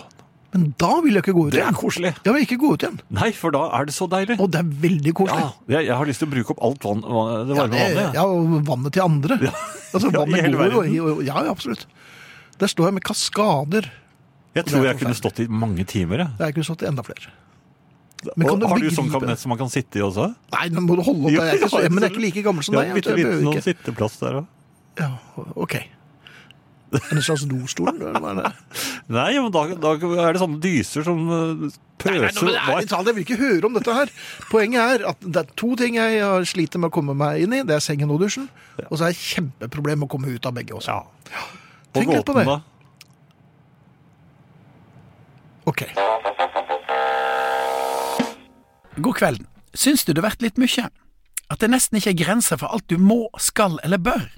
[SPEAKER 2] Men da vil jeg ikke gå ut
[SPEAKER 3] det
[SPEAKER 2] igjen.
[SPEAKER 3] er koselig.
[SPEAKER 2] Jeg vil ikke gå ut igjen.
[SPEAKER 3] Nei, for da er det så deilig.
[SPEAKER 2] Og det er veldig koselig.
[SPEAKER 3] Ja, jeg, jeg har lyst til å bruke opp alt vann, vann- det varme vannet. jeg.
[SPEAKER 2] ja, og vannet til andre. Altså,
[SPEAKER 3] Ja, i
[SPEAKER 2] vannet
[SPEAKER 3] hele
[SPEAKER 2] går jo
[SPEAKER 3] verden.
[SPEAKER 2] i og- Ja, ja, absolutt. Der står jeg med kaskader.
[SPEAKER 3] Jeg tror
[SPEAKER 2] det er
[SPEAKER 3] jeg kunne stått i mange timer. jeg.
[SPEAKER 2] Jeg kunne stått i enda flere. Men kan
[SPEAKER 3] Og
[SPEAKER 2] du
[SPEAKER 3] har du sånn
[SPEAKER 2] begripe-
[SPEAKER 3] kabinett som man kan sitte i også?
[SPEAKER 2] Nei, nå må du holde opp.
[SPEAKER 3] Jo,
[SPEAKER 2] Jeg er ikke, så,
[SPEAKER 3] ja,
[SPEAKER 2] men jeg er ikke like gammel som
[SPEAKER 3] Ja,
[SPEAKER 2] deg. vet du.
[SPEAKER 3] bitte
[SPEAKER 2] Jeg behøver
[SPEAKER 3] liten sånn
[SPEAKER 2] ikke.
[SPEAKER 3] sitteplass der òg.
[SPEAKER 2] Ja, ok. En slags dostol? eller hva er det?
[SPEAKER 3] Nei, men da, da er det sånne dyser som eh,
[SPEAKER 2] Nei, nå,
[SPEAKER 3] pøser
[SPEAKER 2] men ærlig talt, Jeg vil ikke høre om dette her. Poenget er at det er to ting jeg har sliter med å komme meg inn i. Det er sengen og dusjen. Og så er det et kjempeproblem å komme ut av begge også.
[SPEAKER 3] Ja.
[SPEAKER 2] Tenk litt på det.
[SPEAKER 3] da.
[SPEAKER 2] Ok.
[SPEAKER 5] God kvelden. Syns du det har vært litt mye? At det nesten ikke er grenser for alt du må, skal eller bør?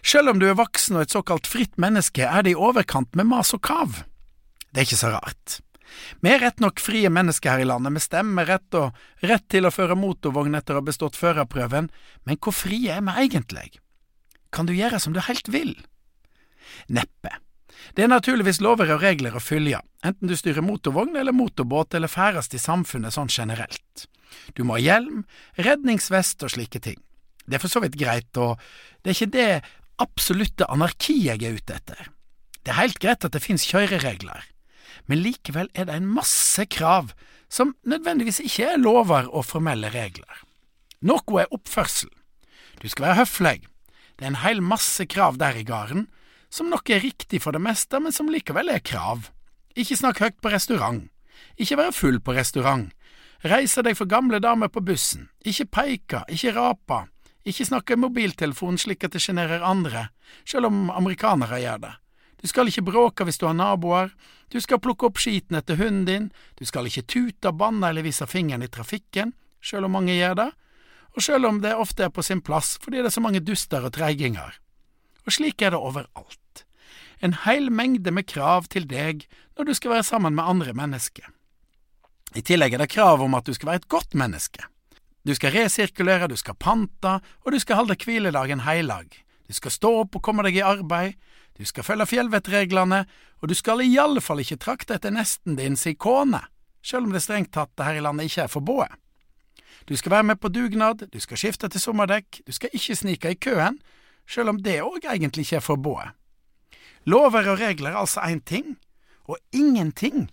[SPEAKER 5] Selv om du er voksen og et såkalt fritt menneske, er det i overkant med mas og kav. Det er ikke så rart. Vi er rett nok frie mennesker her i landet, med stemmerett og rett til å føre motorvogn etter å ha bestått førerprøven, men hvor frie er vi egentlig? Kan du gjøre som du helt vil? Neppe. Det er naturligvis lover og regler å følge, enten du styrer motorvogn eller motorbåt eller ferdes i samfunnet sånn generelt. Du må ha hjelm, redningsvest og slike ting. Det er for så vidt greit, og det er ikke det absolutte anarki jeg er ute etter. Det er helt greit at det finnes kjøreregler, men likevel er det en masse krav som nødvendigvis ikke er lover og formelle regler. Noe er oppførsel. Du skal være høflig. Det er en hel masse krav der i gården, som nok er riktig for det meste, men som likevel er krav. Ikke snakk høyt på restaurant. Ikke være full på restaurant. Reiser deg for gamle damer på bussen. Ikke peika, ikke rapa. Ikke snakke i mobiltelefonen slik at det sjenerer andre, selv om amerikanere gjør det. Du skal ikke bråke hvis du har naboer, du skal plukke opp skiten etter hunden din, du skal ikke tute, banne eller vise fingeren i trafikken, selv om mange gjør det, og selv om det ofte er på sin plass fordi det er så mange duster og treiginger. Og slik er det overalt. En heil mengde med krav til deg når du skal være sammen med andre mennesker. I tillegg er det krav om at du skal være et godt menneske. Du skal resirkulere, du skal pante, og du skal holde hviledagen heilag. Du skal stå opp og komme deg i arbeid, du skal følge fjellvettreglene, og du skal i alle fall ikke trakte etter nesten din si kone, sjøl om det strengt tatt her i landet ikke er forbudt. Du skal være med på dugnad, du skal skifte til sommerdekk, du skal ikke snike i køen, sjøl om det òg egentlig ikke er forbudt. Lover og regler er altså én ting, og ingenting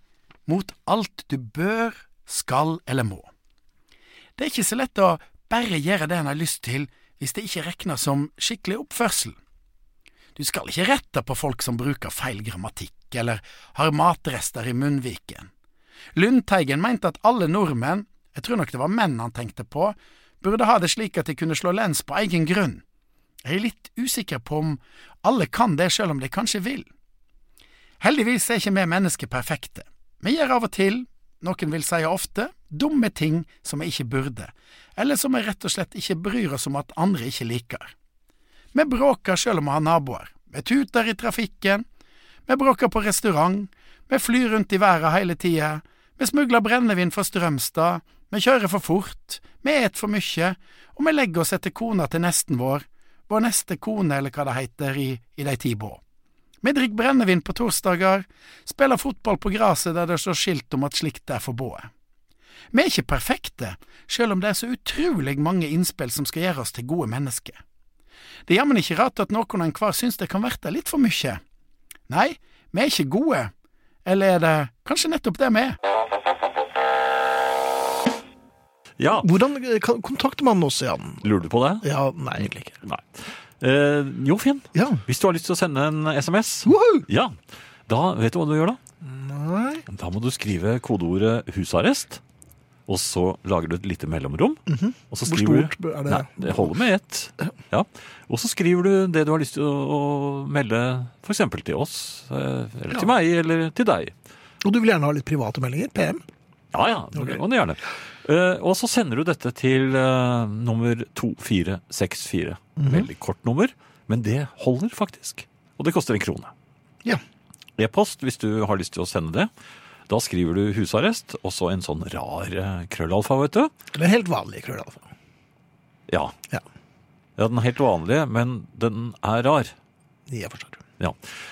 [SPEAKER 5] mot alt du bør, skal eller må. Det er ikke så lett å bare gjøre det en har lyst til hvis det ikke regnes som skikkelig oppførsel. Du skal ikke rette på folk som bruker feil grammatikk eller har matrester i munnviken. Lundteigen mente at alle nordmenn, jeg tror nok det var menn han tenkte på, burde ha det slik at de kunne slå lens på egen grunn. Jeg er litt usikker på om alle kan det selv om de kanskje vil. Heldigvis er ikke vi mennesker perfekte. Vi gjør av og til, noen vil si ofte, dumme ting som vi ikke burde, eller som vi rett og slett ikke bryr oss om at andre ikke liker. Vi bråker selv om vi har naboer, vi tuter i trafikken, vi bråker på restaurant, vi flyr rundt i været hele tida, vi smugler brennevin fra Strømstad, vi kjører for fort, vi et for mye, og vi legger oss etter kona til nesten vår, vår neste kone eller hva det heter i, i de ti bå. Vi drikker brennevin på torsdager, spiller fotball på gresset der det står skilt om at slikt er forbudt. Vi er ikke perfekte, selv om det er så utrolig mange innspill som skal gjøre oss til gode mennesker. Det er jammen ikke rart at noen og enhver syns det kan verte litt for mye. Nei, vi er ikke gode. Eller er det kanskje nettopp det vi er?
[SPEAKER 3] Ja,
[SPEAKER 2] Hvordan eh, kan- kontakter man oss, Jan?
[SPEAKER 3] lurer du på det?
[SPEAKER 2] Ja, nei, egentlig ikke.
[SPEAKER 3] Nei. Eh, jo, Finn.
[SPEAKER 2] Ja.
[SPEAKER 3] Hvis du har lyst til å sende en SMS,
[SPEAKER 2] Woohoo!
[SPEAKER 3] ja, da vet du hva du gjør da?
[SPEAKER 2] Nei.
[SPEAKER 3] Da må du skrive kodeordet 'husarrest', og så lager du et lite mellomrom. og så
[SPEAKER 2] Mhm. Hvor
[SPEAKER 3] skriver
[SPEAKER 2] stort
[SPEAKER 3] du,
[SPEAKER 2] er det?
[SPEAKER 3] Nei, det holder med ett. Ja. Og så skriver du det du har lyst til å, å melde f.eks. til oss, eh, eller til meg, eller til deg.
[SPEAKER 2] Og du vil gjerne ha litt private meldinger? PM?
[SPEAKER 3] Ja, ja, det kan du gjerne. Eh, og så sender du dette til eh, nummer 2464.
[SPEAKER 2] Mhm.
[SPEAKER 3] Veldig kort nummer, men det holder faktisk. Og det koster en krone.
[SPEAKER 2] Ja.
[SPEAKER 3] E-post hvis du har lyst til å sende det. Da skriver du husarrest, og så en sånn rar eh, krøllalfa, vet du.
[SPEAKER 2] Eller helt vanlige krøll, iallfall.
[SPEAKER 3] Ja.
[SPEAKER 2] Ja.
[SPEAKER 3] ja, den er helt vanlig, men den er rar.
[SPEAKER 2] Jeg forstår.
[SPEAKER 3] Ja.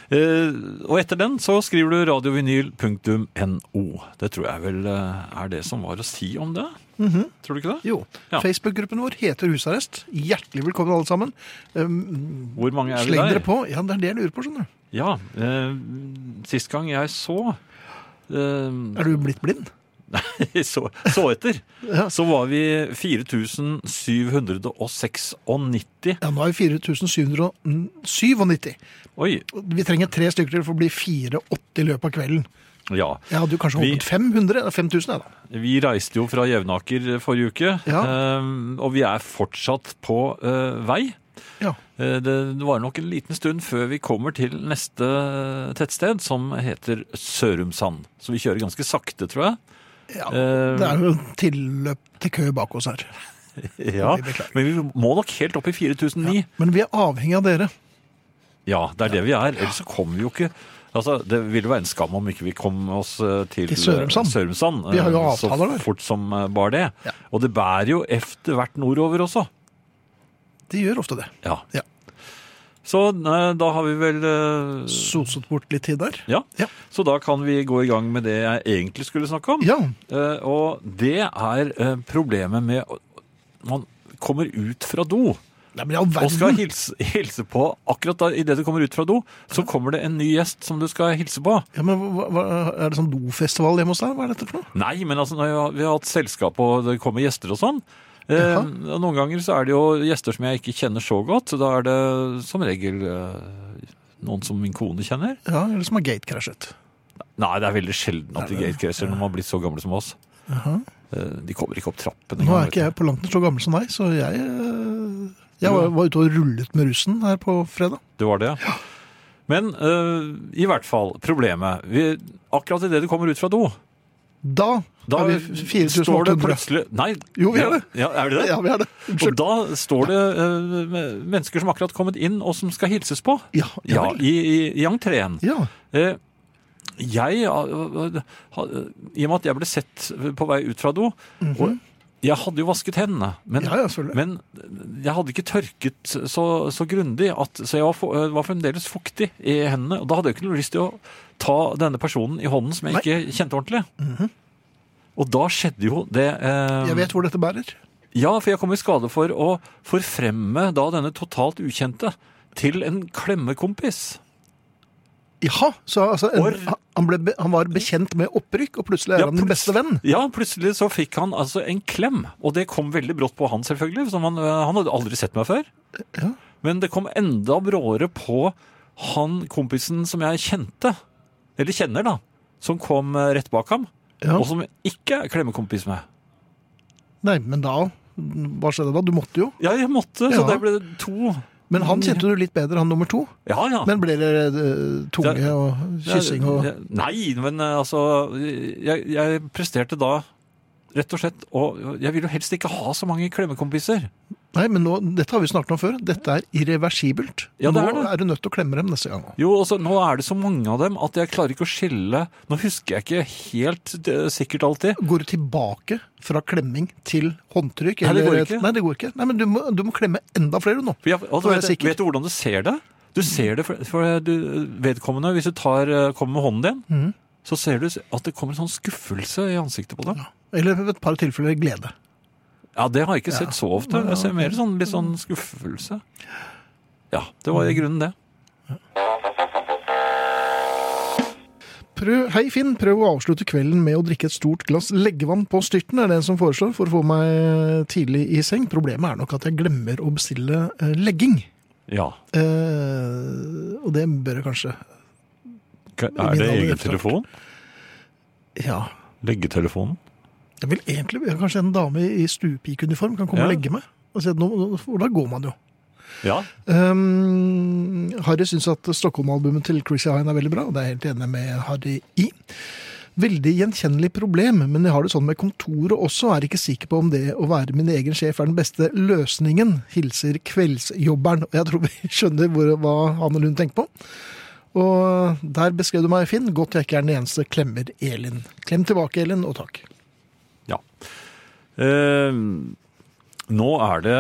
[SPEAKER 3] Eh, og etter den så skriver du radiovinyl.no. Det tror jeg vel eh, er det som var å si om det.
[SPEAKER 2] Mhm.
[SPEAKER 3] Tror du ikke det?
[SPEAKER 2] Jo.
[SPEAKER 3] Ja.
[SPEAKER 2] Facebook-gruppen vår heter Husarrest. Hjertelig velkommen, alle sammen. Um,
[SPEAKER 3] Hvor mange er vi
[SPEAKER 2] Sleng
[SPEAKER 3] der?
[SPEAKER 2] dere på. Ja, det er det jeg lurer på, skjønner du.
[SPEAKER 3] Ja, eh, sist gang jeg så eh,
[SPEAKER 2] Er du blitt blind?
[SPEAKER 3] så, så etter,
[SPEAKER 2] Ja.
[SPEAKER 3] så var vi 4796.
[SPEAKER 2] Ja, nå er vi 4797.
[SPEAKER 3] Oi,
[SPEAKER 2] Vi trenger tre stykker til for å bli 480 i løpet av kvelden.
[SPEAKER 3] ja.
[SPEAKER 2] Jeg hadde jo kanskje
[SPEAKER 3] Vi-
[SPEAKER 2] håpet 500? eller 5000, jeg, da.
[SPEAKER 3] Vi reiste jo fra Jevnaker eh, forrige uke,
[SPEAKER 2] Ja.
[SPEAKER 3] eh, og vi er fortsatt på eh, vei.
[SPEAKER 2] Ja.
[SPEAKER 3] Eh, Det det var nok en liten stund før vi kommer til neste eh, tettsted, som heter Sørumsand. Så vi kjører ganske sakte, tror jeg.
[SPEAKER 2] ja.
[SPEAKER 3] Eh,
[SPEAKER 2] Det er jo tilløp til kø bak oss her.
[SPEAKER 3] ja.
[SPEAKER 2] vi beklager.
[SPEAKER 3] Men vi må nok helt opp i 4009. Ja,
[SPEAKER 2] Men vi er avhengig av dere.
[SPEAKER 3] det er det vi er. Ellers så kommer vi jo ikke Altså, Det ville være en skam om ikke vi kom oss eh, til,
[SPEAKER 2] Til Sørumsand.
[SPEAKER 3] eh, Sørumsand eh,
[SPEAKER 2] Vi har jo avtaler
[SPEAKER 3] så
[SPEAKER 2] der.
[SPEAKER 3] fort som eh, bare det.
[SPEAKER 2] Ja.
[SPEAKER 3] Og det bærer jo efter hvert nordover også.
[SPEAKER 2] De gjør ofte det.
[SPEAKER 3] Ja.
[SPEAKER 2] Ja.
[SPEAKER 3] Så eh, da har vi vel eh,
[SPEAKER 2] Soset bort litt tid der.
[SPEAKER 3] ja.
[SPEAKER 2] Ja.
[SPEAKER 3] så da kan vi gå i gang med det jeg egentlig skulle snakke om.
[SPEAKER 2] Ja.
[SPEAKER 3] Eh, og det er eh, problemet med å- Man kommer ut fra do
[SPEAKER 2] Nei, men i all
[SPEAKER 3] og skal
[SPEAKER 2] verden.
[SPEAKER 3] hilse, hilse på Akkurat da idet du kommer ut fra do, så kommer det en ny gjest som du skal hilse på.
[SPEAKER 2] Ja, men hva, hva, Er det sånn dofestival hjemme hos deg? Hva er dette for noe?
[SPEAKER 3] Nei, men altså, når jeg, har- vi har hatt selskap, og det kommer gjester og sånn. Eh, og noen ganger så er det jo gjester som jeg ikke kjenner så godt, så da er det som regel eh, noen som min kone kjenner.
[SPEAKER 2] Ja, Eller som har gatecrashet?
[SPEAKER 3] Nei, det er veldig sjelden at de gatecrasher når man har blitt så gamle som oss. eh, De kommer ikke opp trappen.
[SPEAKER 2] Nå er
[SPEAKER 3] engang, vet
[SPEAKER 2] ikke
[SPEAKER 3] du.
[SPEAKER 2] jeg på langt nær så gammel som deg, så jeg, eh, jeg var, var ute og rullet med russen her på fredag.
[SPEAKER 3] Det var det, ja. Men eh, i hvert fall, problemet vi, Akkurat idet du kommer ut fra do,
[SPEAKER 2] Da,
[SPEAKER 3] da
[SPEAKER 2] er vi
[SPEAKER 3] står det
[SPEAKER 2] 4800.
[SPEAKER 3] plutselig Nei,
[SPEAKER 2] Jo, vi er det.
[SPEAKER 3] Ja, er det det?
[SPEAKER 2] Ja, vi er det.
[SPEAKER 3] Og
[SPEAKER 2] Unnskyld.
[SPEAKER 3] da står det eh, med mennesker som akkurat kommet inn, og som skal hilses på.
[SPEAKER 2] Ja, ja,
[SPEAKER 3] Ja,
[SPEAKER 2] vel.
[SPEAKER 3] i, i, i entreen.
[SPEAKER 2] ja.
[SPEAKER 3] Eh, jeg, eh, ha- I og med at jeg ble sett på vei ut fra do, og jeg hadde jo vasket hendene, men,
[SPEAKER 2] Mhm. Ja, ja, selvfølgelig.
[SPEAKER 3] men jeg hadde ikke tørket så, så grundig, at, så jeg var, fo- eh, var fremdeles fuktig i hendene, og da hadde jeg ikke noe lyst til å ta denne personen i hånden som jeg
[SPEAKER 2] Nei. Mhm.
[SPEAKER 3] ikke kjente ordentlig. Og da skjedde jo det eh,
[SPEAKER 2] Jeg vet hvor dette bærer.
[SPEAKER 3] ja, for jeg kom i skade for å forfremme da denne totalt ukjente til en klemmekompis.
[SPEAKER 2] Jaha, så altså, en,
[SPEAKER 3] Or-
[SPEAKER 2] han, ble, be- han var bekjent med opprykk, og plutselig er
[SPEAKER 3] Ja,
[SPEAKER 2] han den
[SPEAKER 3] plutselig-
[SPEAKER 2] beste venn.
[SPEAKER 3] Ja, plutselig så fikk han altså en klem, og det kom veldig brått på han selvfølgelig, som han, eh, han hadde aldri sett meg før.
[SPEAKER 2] Ja.
[SPEAKER 3] Men det kom enda bråere på han kompisen som jeg kjente, eller kjenner da, som kom eh, rett bak ham,
[SPEAKER 2] Ja.
[SPEAKER 3] og som jeg ikke er klemmekompis med.
[SPEAKER 2] Nei, men da, hva skjedde da? Du måtte jo.
[SPEAKER 3] Ja, jeg måtte,
[SPEAKER 2] Ja.
[SPEAKER 3] så det ble to.
[SPEAKER 2] Men han kjente du litt bedre, han nummer to.
[SPEAKER 3] Ja, ja.
[SPEAKER 2] Men ble det eh, tunge
[SPEAKER 3] Ja.
[SPEAKER 2] og kyssing og
[SPEAKER 3] Jeg- Nei, men eh, altså jeg, jeg presterte da rett og slett Og jeg vil jo helst ikke ha så mange klemmekompiser.
[SPEAKER 2] Nei, men nå, dette har vi snakket om før. Dette er irreversibelt.
[SPEAKER 3] Ja, det
[SPEAKER 2] nå
[SPEAKER 3] er det.
[SPEAKER 2] er du nødt til å klemme dem neste gang.
[SPEAKER 3] Jo, altså, Nå er det så mange av dem at jeg klarer ikke å skille Nå husker jeg ikke helt eh, sikkert alltid.
[SPEAKER 2] Går du tilbake fra klemming til håndtrykk?
[SPEAKER 3] Nei, det går
[SPEAKER 2] eller-
[SPEAKER 3] ikke.
[SPEAKER 2] Nei, det går ikke. Nei, men du må, du må klemme enda flere nå.
[SPEAKER 3] For jeg, altså,
[SPEAKER 2] For jeg er
[SPEAKER 3] vet,
[SPEAKER 2] sikker.
[SPEAKER 3] vet du hvordan du ser det? Du ser det for, for du, vedkommende Hvis du tar, eh, kommer med hånden din,
[SPEAKER 2] Mm.
[SPEAKER 3] så ser du at det kommer en sånn skuffelse i ansiktet på dem.
[SPEAKER 2] Eller ved et par tilfeller glede.
[SPEAKER 3] Ja, det har jeg ikke sett så ofte. Jeg ser mer sånn, litt sånn skuffelse. Ja, det var
[SPEAKER 2] Mm.
[SPEAKER 3] i grunnen det.
[SPEAKER 2] Prøv, hei Finn, prøv å avslutte kvelden med å drikke et stort glass leggevann på styrten, er det en som foreslår, for å få meg eh, tidlig i seng. Problemet er nok at jeg glemmer å bestille eh, legging.
[SPEAKER 3] Ja.
[SPEAKER 2] Eh, og det bør jeg kanskje
[SPEAKER 3] Er det
[SPEAKER 2] Min
[SPEAKER 3] egen
[SPEAKER 2] allerede
[SPEAKER 3] telefon?
[SPEAKER 2] Ja.
[SPEAKER 3] Leggetelefonen?
[SPEAKER 2] Jeg vil egentlig, Kanskje en dame i stuepikeuniform kan komme og
[SPEAKER 3] Ja.
[SPEAKER 2] legge meg? Og si at nå, for da går man jo.
[SPEAKER 3] Ja.
[SPEAKER 2] Um, Harry syns at Stockholm-albumet til Chrissy Hine er veldig bra, og det er jeg helt enig med Harry i. Veldig gjenkjennelig problem, men jeg har det sånn med kontoret også. Er ikke sikker på om det å være min egen sjef er den beste løsningen. Hilser kveldsjobberen. Og jeg tror vi skjønner hvor, hva Hanne Lund tenker på. Og der beskrev du meg, Finn. Godt jeg ikke er den eneste. Klemmer Elin. Klem tilbake, Elin, og takk.
[SPEAKER 3] ja. Eh, nå er det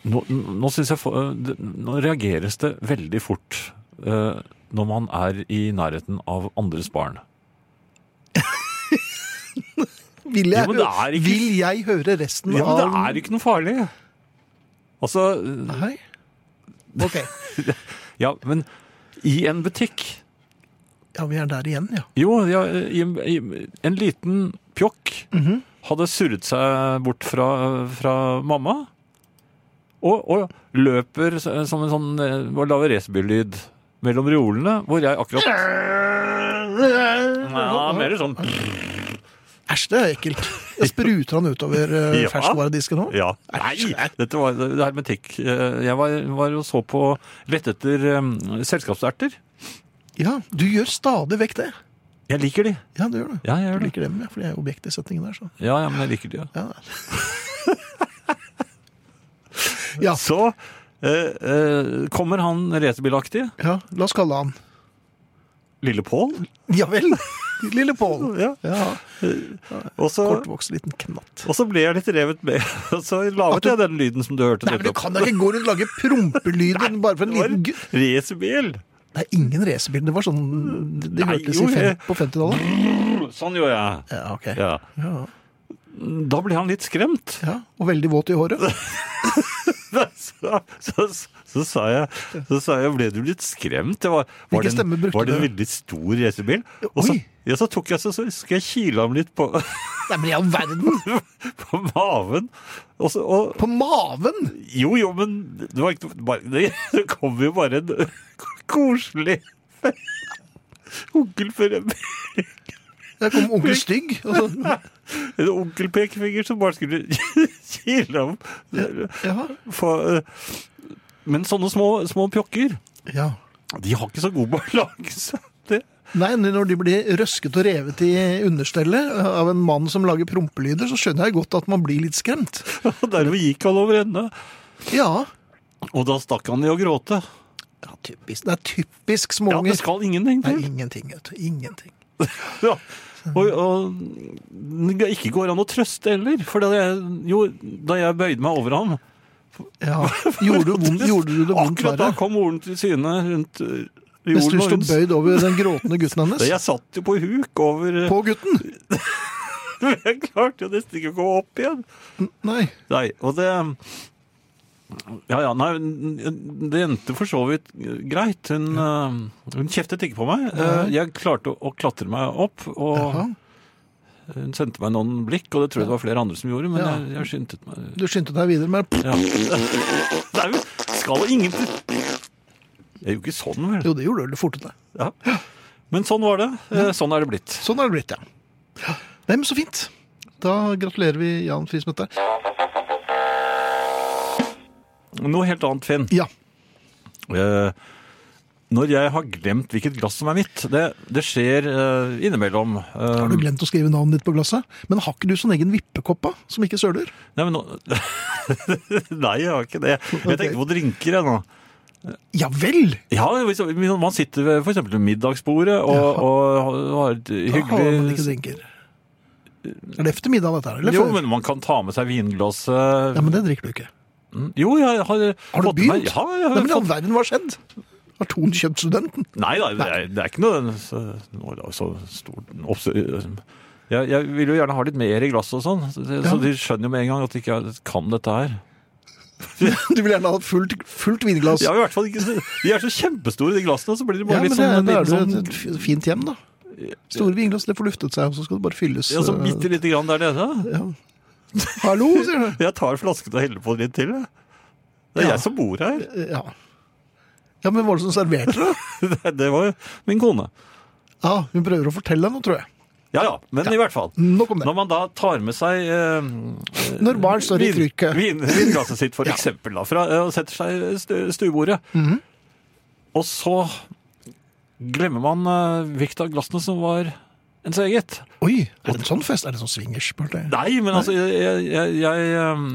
[SPEAKER 3] Nå, nå syns jeg for- eh, det- Nå reageres det veldig fort eh, når man er i nærheten av andres barn.
[SPEAKER 2] Vil
[SPEAKER 3] Ja,
[SPEAKER 2] jeg,
[SPEAKER 3] men det
[SPEAKER 2] hø-
[SPEAKER 3] er ikke-
[SPEAKER 2] vil jeg høre resten
[SPEAKER 3] Ja, men det
[SPEAKER 2] av
[SPEAKER 3] er ikke noe farlig. Altså
[SPEAKER 2] Nei? Ok.
[SPEAKER 3] Ja, men i en butikk
[SPEAKER 2] Ja, vi er der igjen, ja.
[SPEAKER 3] Jo, ja, i, i, en liten pjokk hadde surret seg bort fra, fra mamma. Og, og løper s- som en sånn eh, og lager racerbillyd mellom reolene, hvor jeg akkurat Ja, mer sånn
[SPEAKER 2] Æsj, det er ekkelt. Jeg spruter han utover eh,
[SPEAKER 3] Ja.
[SPEAKER 2] ferskvaredisken nå.
[SPEAKER 3] Ja. Nei! Dette var det er hermetikk. Eh, Jeg var, var og så på Lette etter eh, selskapserter.
[SPEAKER 2] Ja, du gjør stadig vekk det.
[SPEAKER 3] Jeg liker de.
[SPEAKER 2] Ja, du gjør det.
[SPEAKER 3] Ja, jeg
[SPEAKER 2] Du
[SPEAKER 3] gjør det.
[SPEAKER 2] liker dem, ja, for det er objekt i setningen der, så.
[SPEAKER 3] Ja, ja, men jeg liker de, ja.
[SPEAKER 2] Ja. ja,
[SPEAKER 3] Så eh, eh, kommer han racerbilaktig,
[SPEAKER 2] ja, la oss kalle han.
[SPEAKER 3] Lille Pål,
[SPEAKER 2] Ja vel, lille Pål.
[SPEAKER 3] Ja.
[SPEAKER 2] Ja,
[SPEAKER 3] og så,
[SPEAKER 2] kortvokst liten knatt.
[SPEAKER 3] og så ble jeg litt revet med. Og så
[SPEAKER 2] At du-
[SPEAKER 3] laget jeg den lyden som du hørte
[SPEAKER 2] Nei, men du
[SPEAKER 3] nettopp.
[SPEAKER 2] kan da ikke gå rundt og lage prompelyden bare for en
[SPEAKER 3] Det var
[SPEAKER 2] liten
[SPEAKER 3] en
[SPEAKER 2] gutt.
[SPEAKER 3] racerbil.
[SPEAKER 2] Det er ingen racerbil, det var sånn det det
[SPEAKER 3] Nei,
[SPEAKER 2] hørtes
[SPEAKER 3] jo,
[SPEAKER 2] i fem,
[SPEAKER 3] jeg-
[SPEAKER 2] på 50-tallet.
[SPEAKER 3] Sånn gjorde jeg.
[SPEAKER 2] Ja, ok.
[SPEAKER 3] Ja.
[SPEAKER 2] Ja.
[SPEAKER 3] Da ble han litt skremt.
[SPEAKER 2] Ja, og veldig våt i håret.
[SPEAKER 3] så, så, så sa jeg, så sa jeg, ble du litt skremt? Det var, var,
[SPEAKER 2] Hvilken
[SPEAKER 3] det en-
[SPEAKER 2] stemme brukte
[SPEAKER 3] var det en
[SPEAKER 2] du?
[SPEAKER 3] veldig stor racerbil? Og så,
[SPEAKER 2] Oi.
[SPEAKER 3] ja, så tok jeg så, så skal jeg kile ham litt på,
[SPEAKER 2] Nei, men i all verden!
[SPEAKER 3] på maven. Og så, og,
[SPEAKER 2] På maven!
[SPEAKER 3] jo, jo, men det, var ikke, noe- bare, det, det kom jo bare en koselig onkel frem.
[SPEAKER 2] Der kom onkel Stygg. Altså, Og så,
[SPEAKER 3] En onkelpekefinger som bare skulle kile ham.
[SPEAKER 2] ja,
[SPEAKER 3] For, eh, men sånne små, små pjokker,
[SPEAKER 2] ja.
[SPEAKER 3] de har ikke så god balanse. Det,
[SPEAKER 2] Nei, når de blir røsket og revet i understellet av en mann som lager prompelyder, så skjønner jeg godt at man blir litt skremt.
[SPEAKER 3] og dermed gikk han over ende.
[SPEAKER 2] Ja,
[SPEAKER 3] Og da stakk han i å gråte.
[SPEAKER 2] ja typisk. Det er typisk
[SPEAKER 3] Ja,
[SPEAKER 2] småunger.
[SPEAKER 3] det skal ingenting
[SPEAKER 2] Nei,
[SPEAKER 3] til.
[SPEAKER 2] ingenting, vet du. Ingenting.
[SPEAKER 3] Ja. Og, og det ikke går an å trøste heller. For da jeg, jo, da jeg bøyde meg over ham
[SPEAKER 2] Ja. Gjorde, du vondt, gjorde du det vondt
[SPEAKER 3] Akkurat da
[SPEAKER 2] verre?
[SPEAKER 3] kom moren til syne rundt øh, i
[SPEAKER 2] Hvis du
[SPEAKER 3] jorden. og
[SPEAKER 2] sto
[SPEAKER 3] hun-
[SPEAKER 2] bøyd over den gråtende gutten hennes?
[SPEAKER 3] Da Jeg satt jo på huk over øh,
[SPEAKER 2] På gutten?
[SPEAKER 3] Jeg klarte jo nesten ikke å komme opp igjen.
[SPEAKER 2] Nei.
[SPEAKER 3] Nei, og det Ja, ja, nei, det endte for så vidt greit. Hun, øh, hun kjeftet ikke på meg.
[SPEAKER 2] Nei.
[SPEAKER 3] Eh, Jeg klarte å, å klatre meg opp, og
[SPEAKER 2] Jaha.
[SPEAKER 3] hun sendte meg noen blikk, og det tror jeg det var flere andre som gjorde, men
[SPEAKER 2] Ja.
[SPEAKER 3] jeg, jeg skyndte meg.
[SPEAKER 2] Du skyndte deg videre med
[SPEAKER 3] Ja. Det er jo skal ingen Jeg gjør jo ikke sånn, vel.
[SPEAKER 2] Jo, det gjorde du. Du fortet deg.
[SPEAKER 3] Ja. Men sånn var det. Eh, Sånn er det blitt.
[SPEAKER 2] Sånn er det blitt, ja. Nei, men så fint. Da gratulerer vi Jan Friis med dette.
[SPEAKER 3] Noe helt annet, Finn.
[SPEAKER 2] Ja.
[SPEAKER 3] Eh, Når jeg har glemt hvilket glass som er mitt Det, det skjer eh, innimellom. Eh,
[SPEAKER 2] Har du glemt å skrive navnet ditt på glasset? Men har ikke du sånn egen vippekoppa som ikke søler?
[SPEAKER 3] Nei, men nå... Nei, jeg har ikke det. Jeg
[SPEAKER 2] Ok.
[SPEAKER 3] tenker på drinker, jeg nå.
[SPEAKER 2] Ja vel!
[SPEAKER 3] Ja, hvis- Man sitter ved f.eks. middagsbordet og, og har et
[SPEAKER 2] Da har man ikke
[SPEAKER 3] hyggelig
[SPEAKER 2] drinker. Er det efter middag, dette her? Eller
[SPEAKER 3] Jo,
[SPEAKER 2] før?
[SPEAKER 3] men man kan ta med seg vinglasset.
[SPEAKER 2] Ja, men det drikker du ikke.
[SPEAKER 3] Jo, jeg har
[SPEAKER 2] Har du
[SPEAKER 3] fått med-
[SPEAKER 2] begynt?
[SPEAKER 3] Ja, jeg har
[SPEAKER 2] Nei, men i
[SPEAKER 3] fått
[SPEAKER 2] all verden, hva har skjedd? Har Ton kjøpt studenten?
[SPEAKER 3] Nei da, det er, det er ikke noe så, nå er det så stort obs- jeg, jeg vil jo gjerne ha litt mer i glasset og sånn, så,
[SPEAKER 2] Ja.
[SPEAKER 3] så de skjønner jo med en gang at ikke jeg kan dette her.
[SPEAKER 2] Du vil gjerne ha fullt, fullt vinglass.
[SPEAKER 3] De, har i hvert fall ikke, de er så kjempestore, de glassene, så blir de
[SPEAKER 2] Ja,
[SPEAKER 3] bare
[SPEAKER 2] men
[SPEAKER 3] litt
[SPEAKER 2] det,
[SPEAKER 3] sånn en
[SPEAKER 2] da er det
[SPEAKER 3] liten
[SPEAKER 2] et f- fint hjem, da. Store vinglass, det får luftet seg, og så skal det bare fylles.
[SPEAKER 3] sånn ja, så
[SPEAKER 2] eh,
[SPEAKER 3] bitte lite grann der nede.
[SPEAKER 2] ja. Hallo, sier du.
[SPEAKER 3] Jeg tar flasken og heller på litt til. jeg. Det
[SPEAKER 2] Ja.
[SPEAKER 3] er jeg som bor her.
[SPEAKER 2] Ja. ja, men hva var det som serverte det?
[SPEAKER 3] Det- Det var jo min kone.
[SPEAKER 2] Ja, Hun prøver å fortelle deg noe, tror jeg.
[SPEAKER 3] Ja ja, men i hvert fall.
[SPEAKER 2] Nok om det.
[SPEAKER 3] Når man da tar med seg eh,
[SPEAKER 2] Når barn står i
[SPEAKER 3] Vin-
[SPEAKER 2] trykkø.
[SPEAKER 3] vin- Vinglasset sitt, for eksempel, da, fra, eh, og setter seg i stu- stuebordet. Og så glemmer man eh, hvilket av glassene som var ens eget.
[SPEAKER 2] Oi, er det en sånn fest? Er det en sånn swingers? party?
[SPEAKER 3] Nei, men altså, jeg Jeg, jeg, ehm,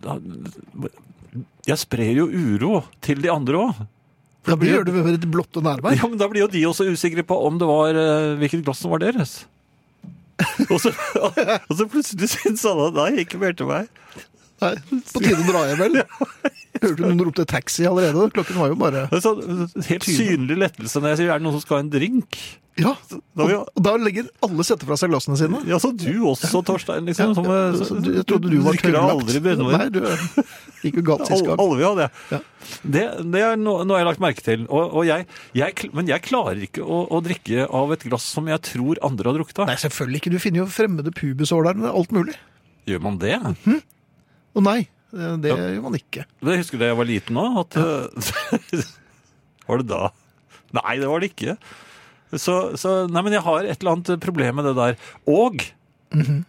[SPEAKER 3] da- jeg sprer jo uro til de andre òg.
[SPEAKER 2] Ja, det gjør det ved et blått og nærvær.
[SPEAKER 3] Ja, men da blir jo de også usikre på om det var eh, hvilket glass som var deres. og, så, og så plutselig syns alle at nei, ikke mer til meg.
[SPEAKER 2] Nei, På tide å dra hjem, vel? Hørte du noen ropte taxi allerede? Klokken var jo bare
[SPEAKER 3] Det er sånn helt synlig lettelse når jeg sier er det noen som skal ha en drink.
[SPEAKER 2] Ja.
[SPEAKER 3] Da
[SPEAKER 2] Og,
[SPEAKER 3] vil jeg-
[SPEAKER 2] og da legger alle setter fra seg glassene sine.
[SPEAKER 3] Ja, så du også, Torstein. liksom. Som, eh,
[SPEAKER 2] sånn, Så du, jeg trodde du var
[SPEAKER 3] drikker
[SPEAKER 2] tørrlagt.
[SPEAKER 3] aldri brennevin.
[SPEAKER 2] Nei, du gikk jo galt sist
[SPEAKER 3] Alle,
[SPEAKER 2] gang.
[SPEAKER 3] alle vil ha det.
[SPEAKER 2] Ja.
[SPEAKER 3] Det, det er noe, noe jeg har lagt merke til. Og, og jeg, jeg, kl- men jeg klarer ikke å, å drikke av et glass som jeg tror andre har drukket av.
[SPEAKER 2] Nei, selvfølgelig ikke. Du finner jo fremmede pubisår der, men det er alt mulig.
[SPEAKER 3] Gjør man det?
[SPEAKER 2] Og nei, eh, det gjør man ikke.
[SPEAKER 3] Jeg husker da jeg var liten òg, at eh, Var det da? Nei, det var det ikke. Så, så Nei, men jeg har et eller annet problem med det der. Og
[SPEAKER 2] Mhm.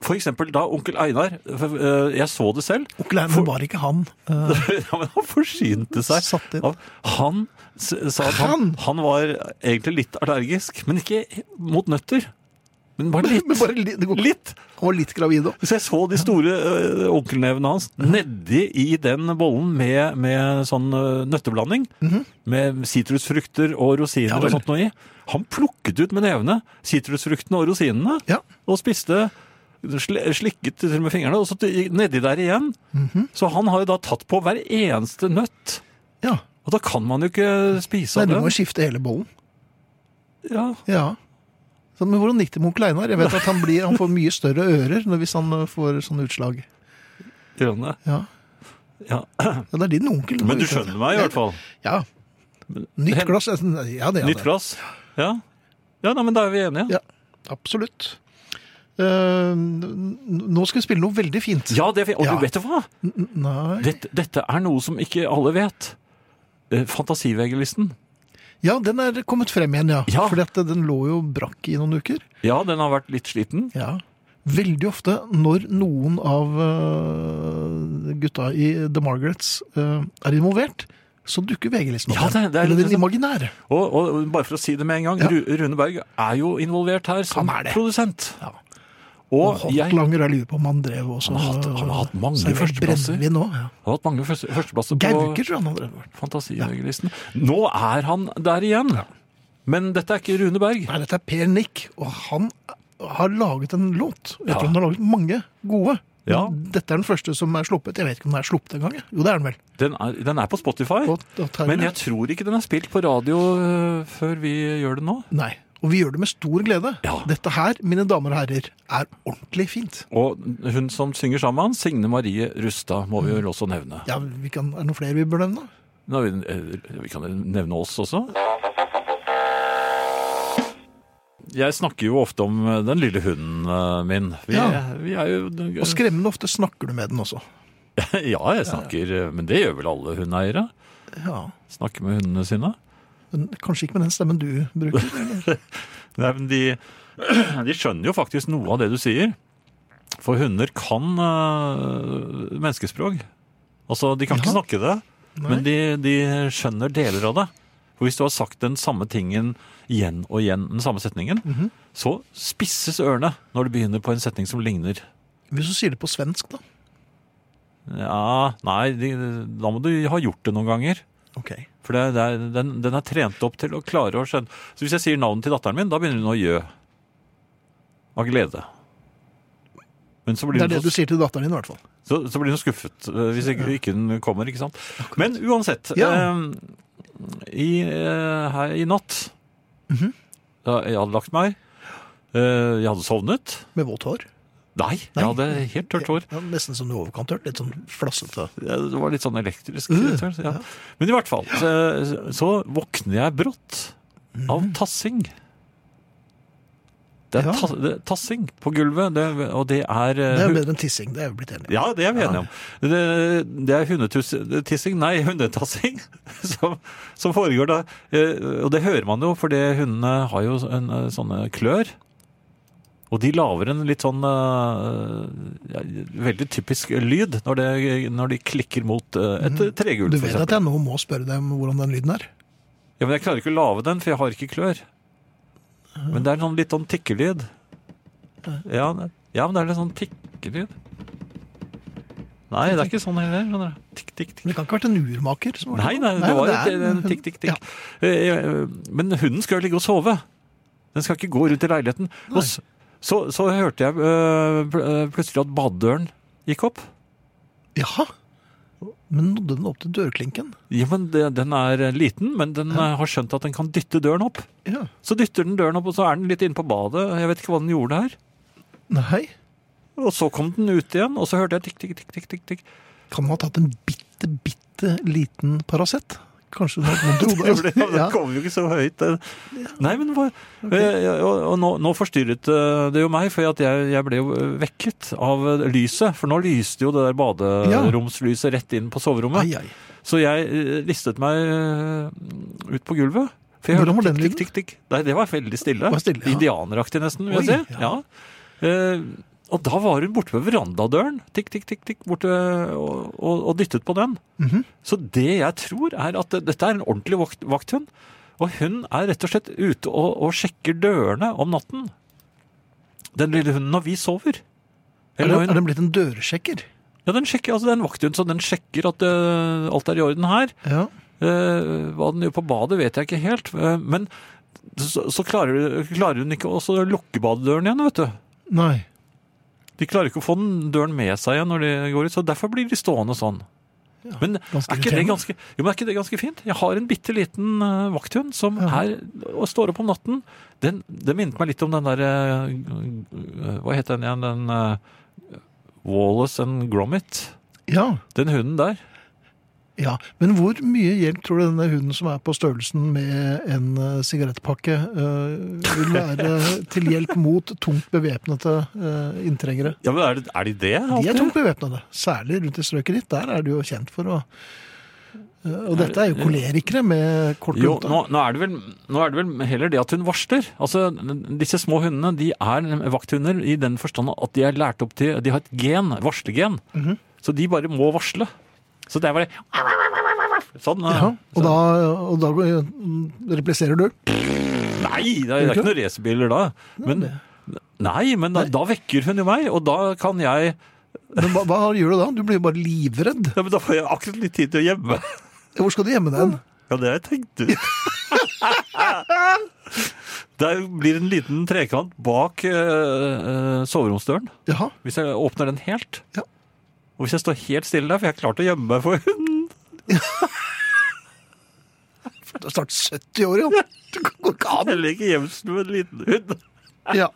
[SPEAKER 3] for eksempel da onkel Einar eh, Jeg så det selv.
[SPEAKER 2] Onkel Einar var ikke han. Eh,
[SPEAKER 3] ja, men han forsynte
[SPEAKER 2] Satt
[SPEAKER 3] seg.
[SPEAKER 2] inn.
[SPEAKER 3] Av, han s- sa at han, han var egentlig litt allergisk, men ikke mot nøtter. Men bare litt.
[SPEAKER 2] men bare litt, det går,
[SPEAKER 3] Litt!
[SPEAKER 2] han var litt gravid òg.
[SPEAKER 3] Så jeg så de store øh, onkelnevene hans
[SPEAKER 2] Mhm.
[SPEAKER 3] nedi i den bollen med, med sånn øh, nøtteblanding. Med sitrusfrukter og rosiner
[SPEAKER 2] Mhm. Ja, vel.
[SPEAKER 3] og sånt noe i. Han plukket ut med nevene sitrusfruktene og rosinene
[SPEAKER 2] Ja.
[SPEAKER 3] og spiste sl- slikket til og med fingrene, og så t- nedi der igjen.
[SPEAKER 2] Mhm.
[SPEAKER 3] Så han har jo da tatt på hver eneste nøtt.
[SPEAKER 2] ja.
[SPEAKER 3] Og da kan man jo ikke spise
[SPEAKER 2] Nei,
[SPEAKER 3] av
[SPEAKER 2] du må jo
[SPEAKER 3] det.
[SPEAKER 2] skifte hele bollen.
[SPEAKER 3] Ja.
[SPEAKER 2] Ja. Så, men hvordan gikk det med onkel Einar? Jeg vet at han, blir, han får mye større ører når, hvis han eh, får sånne utslag.
[SPEAKER 3] gjør han det?
[SPEAKER 2] Ja.
[SPEAKER 3] Ja.
[SPEAKER 2] ja, det er din onkel.
[SPEAKER 3] Men du skjønner meg i hvert fall.
[SPEAKER 2] Ja. Nytt
[SPEAKER 3] Hen-
[SPEAKER 2] glass. eh, Ja, det er
[SPEAKER 3] Nytt
[SPEAKER 2] det.
[SPEAKER 3] glass. Ja, ja nei, men da er vi enige.
[SPEAKER 2] Ja, absolutt. Eh, n- nå skal vi spille noe veldig fint.
[SPEAKER 3] Ja, det er fint. Og
[SPEAKER 2] Ja.
[SPEAKER 3] du vet du hva?
[SPEAKER 2] N- Nei
[SPEAKER 3] Dette, dette er noe som ikke alle vet. Eh, Fantasivegelisten.
[SPEAKER 2] Ja, den er kommet frem igjen, ja.
[SPEAKER 3] Ja.
[SPEAKER 2] Fordi at den lå jo brakk i noen uker.
[SPEAKER 3] Ja, den har vært litt sliten.
[SPEAKER 2] Ja. Veldig ofte når noen av øh, gutta i The Margarets øh, er involvert, så dukker VG-listen opp.
[SPEAKER 3] Ja,
[SPEAKER 2] igjen.
[SPEAKER 3] det- det er-
[SPEAKER 2] Eller den imaginære.
[SPEAKER 3] Og, og bare for å si det med en gang,
[SPEAKER 2] Ja.
[SPEAKER 3] Ru- Rune Berg er jo involvert her som
[SPEAKER 2] Han er det.
[SPEAKER 3] produsent.
[SPEAKER 2] Ja.
[SPEAKER 3] Og
[SPEAKER 2] Håndlanger
[SPEAKER 3] jeg
[SPEAKER 2] er lurer på om han drev også.
[SPEAKER 3] Han har hatt- han har hatt mange
[SPEAKER 2] servert
[SPEAKER 3] førsteplasser.
[SPEAKER 2] brennevin også, ja.
[SPEAKER 3] har hatt mange første- førsteplasser
[SPEAKER 2] Gauker
[SPEAKER 3] på
[SPEAKER 2] tror jeg han har drevet.
[SPEAKER 3] Fantasiveggelisten. Nå er han der igjen. Men dette er ikke Rune Berg.
[SPEAKER 2] Nei, dette er Per Nick, og han har laget en låt. Jeg
[SPEAKER 3] Ja.
[SPEAKER 2] tror han har laget mange gode.
[SPEAKER 3] Ja.
[SPEAKER 2] Men Dette er den første som er sluppet. Jeg vet ikke om den er sluppet engang. jeg. Jo, det er den vel.
[SPEAKER 3] Den er, den er på Spotify.
[SPEAKER 2] Og- og tar-
[SPEAKER 3] Men jeg tror ikke den er spilt på radio øh, før vi gjør det nå.
[SPEAKER 2] Nei. Og vi gjør det med stor glede.
[SPEAKER 3] Ja.
[SPEAKER 2] Dette her, mine damer og herrer, er ordentlig fint.
[SPEAKER 3] Og hun som synger sammen med han, Signe Marie Rustad, må vi vel også nevne.
[SPEAKER 2] Ja, vi kan, Er det noen flere vi bør nevne?
[SPEAKER 3] Nå, har vi, eh, vi kan nevne oss også. Jeg snakker jo ofte om eh, den lille hunden eh, min. Vi,
[SPEAKER 2] Ja.
[SPEAKER 3] vi er jo
[SPEAKER 2] Og skremmende ofte snakker du med den også.
[SPEAKER 3] Ja, jeg snakker eh, Men det gjør vel alle hundeeiere?
[SPEAKER 2] Ja,
[SPEAKER 3] Snakker med hundene sine.
[SPEAKER 2] men Kanskje ikke med den stemmen du bruker. eller?
[SPEAKER 3] Nei, men de, de skjønner jo faktisk noe av det du sier. For hunder kan eh, menneskespråk. Altså, de kan ikke
[SPEAKER 2] Ja.
[SPEAKER 3] snakke det, men de, de skjønner deler av det. For hvis du har sagt den samme tingen igjen og igjen, den samme setningen, så spisses ørene når du begynner på en setning som ligner.
[SPEAKER 2] Hvis du sier det på svensk, da.
[SPEAKER 3] Ja, nei, de, da må du ha gjort det noen ganger.
[SPEAKER 2] Ok.
[SPEAKER 3] For det, det er, den, den er trent opp til å klare å skjønne. Så hvis jeg sier navnet til datteren min, da begynner hun å gjø. Av glede. Men så blir,
[SPEAKER 2] Det er
[SPEAKER 3] hun,
[SPEAKER 2] det du
[SPEAKER 3] så,
[SPEAKER 2] sier til datteren din, i hvert fall.
[SPEAKER 3] så, så blir hun skuffet eh, hvis ikke, ikke den kommer, ikke sant? Men uansett.
[SPEAKER 2] Ja.
[SPEAKER 3] eh, i, eh, her i natt
[SPEAKER 2] Mhm.
[SPEAKER 3] da Jeg hadde lagt meg. eh, jeg hadde sovnet.
[SPEAKER 2] Med vått hår.
[SPEAKER 3] Nei, jeg
[SPEAKER 2] Nei.
[SPEAKER 3] hadde helt tørt hår.
[SPEAKER 2] Ja, nesten som du overkant hørt. Litt sånn flassete.
[SPEAKER 3] Ja, Det var litt sånn elektrisk.
[SPEAKER 2] Uh,
[SPEAKER 3] irritert, ja. Men i hvert fall, så, så våkner jeg brått av tassing. Det
[SPEAKER 2] Mm.
[SPEAKER 3] er
[SPEAKER 2] Ja.
[SPEAKER 3] tas- det er tassing på gulvet, det, og det er eh,
[SPEAKER 2] Det er
[SPEAKER 3] hu-
[SPEAKER 2] jo bedre enn tissing, det er vi blitt enige om.
[SPEAKER 3] Ja, det er vi enige om. Det, det er hundetissing, nei, hundetassing, som, som foregår da. Eh, Og det hører man jo, for det- hundene har jo en, eh, sånne klør. Og de lager en litt sånn eh, ja, veldig typisk lyd når, det, når de klikker mot eh, et tregulv,
[SPEAKER 2] Mhm. Du
[SPEAKER 3] for
[SPEAKER 2] vet
[SPEAKER 3] eksempel.
[SPEAKER 2] at jeg nå må spørre deg om hvordan den lyden er?
[SPEAKER 3] Ja, men jeg klarer ikke å lage den, for jeg har ikke klør. Men det er sånn litt sånn tikkelyd. Ja, det- ja, men det er litt sånn tikkelyd. Nei, det er ikke sånn heller. skjønner du. Tikk, tikk, tikk.
[SPEAKER 2] Men det kan ikke ha vært en urmaker? Som har
[SPEAKER 3] Nei,
[SPEAKER 2] det?
[SPEAKER 3] nei, det var
[SPEAKER 2] er
[SPEAKER 3] ikke en tikk, tikk, tikk. Eh, eh, Men hunden skal jo ligge og sove. Den skal ikke gå rundt i leiligheten. Og s- så, så hørte jeg eh, pl- eh, plutselig at badedøren gikk opp.
[SPEAKER 2] Jaha. Men nådde den opp til dørklinken?
[SPEAKER 3] Ja, men det, Den er liten, men den eh, har skjønt at den kan dytte døren opp.
[SPEAKER 2] Ja.
[SPEAKER 3] Så dytter den døren opp, og så er den litt inne på badet. Jeg vet ikke hva den gjorde her.
[SPEAKER 2] Nei.
[SPEAKER 3] Og så kom den ut igjen, og så hørte jeg tikk, tikk, tikk, tikk, tikk, tikk.
[SPEAKER 2] Kan den ha tatt en bitte, bitte liten Paracet? Kanskje den har vondt i
[SPEAKER 3] Det ble-
[SPEAKER 2] hodet?
[SPEAKER 3] Det
[SPEAKER 2] Ja.
[SPEAKER 3] kom jo ikke så høyt. det. Nei, men hva... eh, Og, og nå, nå forstyrret eh, det jo meg, for at jeg, jeg ble jo vekket av eh, lyset. For nå lyste jo det der baderomslyset rett inn på soverommet.
[SPEAKER 2] Ai, ai.
[SPEAKER 3] Så jeg eh, listet meg eh, ut på gulvet. For jeg
[SPEAKER 2] Hvordan
[SPEAKER 3] hørte
[SPEAKER 2] var den
[SPEAKER 3] tikk, tikk, tikk, tikk. Nei, det var veldig stille.
[SPEAKER 2] Var stille, ja.
[SPEAKER 3] Indianeraktig nesten, vil
[SPEAKER 2] Oi,
[SPEAKER 3] jeg si. Ja.
[SPEAKER 2] ja.
[SPEAKER 3] Eh, og da var hun borte ved verandadøren, tikk, tikk, tikk, tikk, borte, og, og, og dyttet på den.
[SPEAKER 2] Mhm.
[SPEAKER 3] Så det jeg tror er at det- dette er en ordentlig vakt, vakthund, og hun er rett og slett ute og, og sjekker dørene om natten. Den lille hunden når vi sover.
[SPEAKER 2] Er,
[SPEAKER 3] Eller
[SPEAKER 2] den,
[SPEAKER 3] hun,
[SPEAKER 2] er den blitt en dørsjekker?
[SPEAKER 3] ja, den sjekker, altså det er en vakthund, så den sjekker at eh, alt er i orden her.
[SPEAKER 2] Ja.
[SPEAKER 3] Eh, hva den gjør på badet, vet jeg ikke helt. eh, men så, så klarer, klarer hun ikke å også lukke badedøren igjen, vet du.
[SPEAKER 2] Nei.
[SPEAKER 3] De klarer ikke å få den døren med seg igjen når de går ut, så derfor blir de stående sånn. men,
[SPEAKER 2] ganske
[SPEAKER 3] er ikke det
[SPEAKER 2] irriterende.
[SPEAKER 3] ganske, jo, men er ikke det ganske fint? Jeg har en bitte liten eh, vakthund som er og står opp om natten. Den, det minnet meg litt om den der eh, Hva het den igjen? Den eh, Wallace and Gromit.
[SPEAKER 2] Ja.
[SPEAKER 3] Den hunden der.
[SPEAKER 2] ja. Men hvor mye hjelp tror du denne hunden som er på størrelsen med en eh, sigarettpakke, eh, vil være til hjelp mot tungt bevæpnede eh, inntrengere?
[SPEAKER 3] Ja, men er det, er de det?
[SPEAKER 2] De
[SPEAKER 3] alltid?
[SPEAKER 2] er tungt bevæpnede. Særlig rundt i strøket ditt. Der er du jo kjent for å Eh, Og dette er jo kolerikere med kort
[SPEAKER 3] Jo,
[SPEAKER 2] lunte.
[SPEAKER 3] nå, nå, er det vel, nå er det vel heller det at hun varsler. Altså, Disse små hundene de er vakthunder i den forstand at de er lært opp til De har et gen, varslegen. Så de bare må varsle. Så det er bare Sånn.
[SPEAKER 2] Ja, og
[SPEAKER 3] sånn.
[SPEAKER 2] da, og da går- repliserer du.
[SPEAKER 3] Nei, det er, det er ikke noen racerbiler da. Men, nei, men da, da vekker hun jo meg, og da kan jeg
[SPEAKER 2] Men hva, hva gjør du da? Du blir jo bare livredd.
[SPEAKER 3] ja, men Da får jeg akkurat litt tid til å gjemme.
[SPEAKER 2] Hvor skal du gjemme deg? hen?
[SPEAKER 3] Ja, det har jeg tenkt ut. Det blir en liten trekant bak eh, eh, soveromsdøren.
[SPEAKER 2] Jaha.
[SPEAKER 3] Hvis jeg åpner den helt.
[SPEAKER 2] Ja.
[SPEAKER 3] Og hvis jeg står helt stille der, for jeg har klart å gjemme meg for hunden.
[SPEAKER 2] Du er snart 70 år, jo. Du går ikke an.
[SPEAKER 3] Eller ikke gjemsel med en liten hund.
[SPEAKER 2] Ja.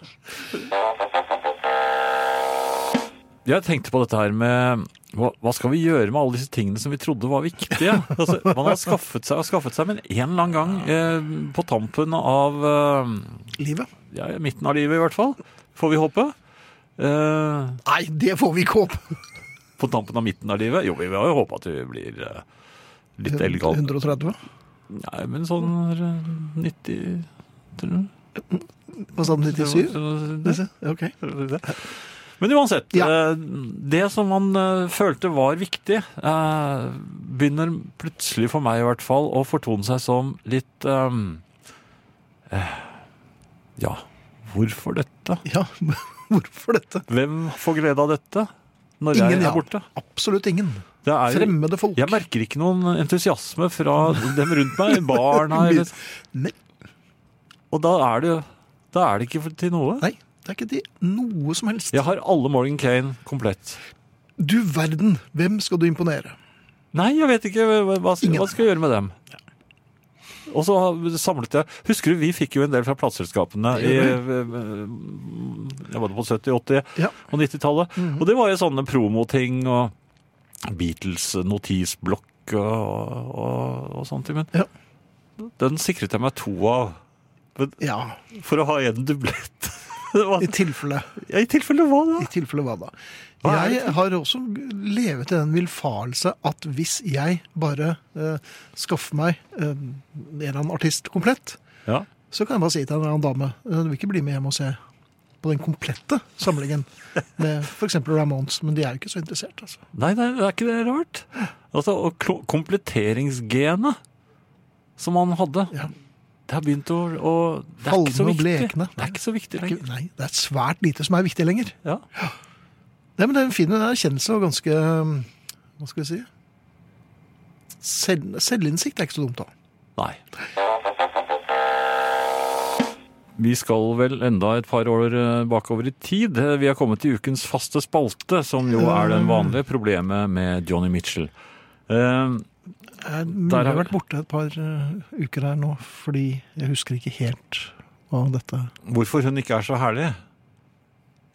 [SPEAKER 3] Jeg tenkte på dette her med hva, hva skal vi gjøre med alle disse tingene som vi trodde var viktige? Altså, man har skaffet seg og skaffet seg, men en eller annen gang eh, på tampen av eh,
[SPEAKER 2] Livet.
[SPEAKER 3] ja, midten av livet i hvert fall, får vi håpe. Eh,
[SPEAKER 2] Nei, det får vi ikke håpe.
[SPEAKER 3] på tampen av midten av livet. Jo, vi har jo håpa at vi blir eh, litt eldgamle.
[SPEAKER 2] 130.
[SPEAKER 3] Nei, men sånn eh, 90 tror du?
[SPEAKER 2] Hva sa den? 97? Disse? Ok.
[SPEAKER 3] Men uansett,
[SPEAKER 2] Ja.
[SPEAKER 3] eh, det som man eh, følte var viktig, eh, begynner plutselig for meg i hvert fall å fortone seg som litt eh, eh, Ja, hvorfor dette?
[SPEAKER 2] Ja, hvorfor dette?
[SPEAKER 3] Hvem får glede av dette når
[SPEAKER 2] Ingen,
[SPEAKER 3] jeg
[SPEAKER 2] ja.
[SPEAKER 3] er borte?
[SPEAKER 2] Absolutt ingen.
[SPEAKER 3] Det er jo,
[SPEAKER 2] Fremmede folk.
[SPEAKER 3] jeg merker ikke noen entusiasme fra dem rundt meg, barna eller
[SPEAKER 2] Nei,
[SPEAKER 3] Og da er det, da er det ikke til noe.
[SPEAKER 2] nei, det er ikke de noe som helst.
[SPEAKER 3] Jeg har alle Morgan Kane komplett.
[SPEAKER 2] Du verden, hvem skal du imponere?
[SPEAKER 3] Nei, jeg vet ikke. Hva, hva, skal,
[SPEAKER 2] Ingen.
[SPEAKER 3] hva skal jeg gjøre med dem? Og så samlet jeg Husker du, vi fikk jo en del fra plateselskapene i eh, Jeg var det på 70-, 80-
[SPEAKER 2] Ja.
[SPEAKER 3] og 90-tallet.
[SPEAKER 2] Mhm.
[SPEAKER 3] Og det var jo sånne promoting og Beatles notisblokk og, og, og sånne ting. Men
[SPEAKER 2] Ja.
[SPEAKER 3] den sikret jeg meg to av
[SPEAKER 2] Ja,
[SPEAKER 3] for å ha en dublett. Det var-
[SPEAKER 2] i tilfelle,
[SPEAKER 3] ja, I tilfelle hva da?
[SPEAKER 2] i tilfelle hva da?
[SPEAKER 3] Hva er det
[SPEAKER 2] Jeg har også levet i den vilfarelse at hvis jeg bare eh, skaffer meg eh, en eller annen artist komplett,
[SPEAKER 3] Ja.
[SPEAKER 2] så kan jeg bare si til en eller annen dame eh, du vil ikke bli med hjem og se på den komplette samlingen med f.eks. Ramones, men de er jo ikke så interessert, altså.
[SPEAKER 3] Nei, nei, det er ikke det rart. Altså, og klo- Kompletteringsgenet som han hadde,
[SPEAKER 2] Ja.
[SPEAKER 3] det har begynt å, å Det er ikke så
[SPEAKER 2] Falme og
[SPEAKER 3] viktig.
[SPEAKER 2] blekne.
[SPEAKER 3] Det er ikke så
[SPEAKER 2] Det
[SPEAKER 3] viktig
[SPEAKER 2] er ikke-
[SPEAKER 3] lenger.
[SPEAKER 2] Nei, det er svært lite som er viktig lenger.
[SPEAKER 3] Ja.
[SPEAKER 2] Nei, men det er en fin erkjennelse og ganske um, Hva skal vi si? Selv, selvinnsikt er ikke så dumt, da.
[SPEAKER 3] Nei. Vi skal vel enda et par år eh, bakover i tid. Eh, Vi har kommet til ukens faste spalte, som jo er den vanlige problemet med Johnny Mitchell. Eh,
[SPEAKER 2] Jeg mulig
[SPEAKER 3] Der har
[SPEAKER 2] jeg har
[SPEAKER 3] vi-
[SPEAKER 2] vært borte et par uh, uker her nå fordi jeg husker ikke helt hva dette
[SPEAKER 3] hvorfor hun ikke er så herlig.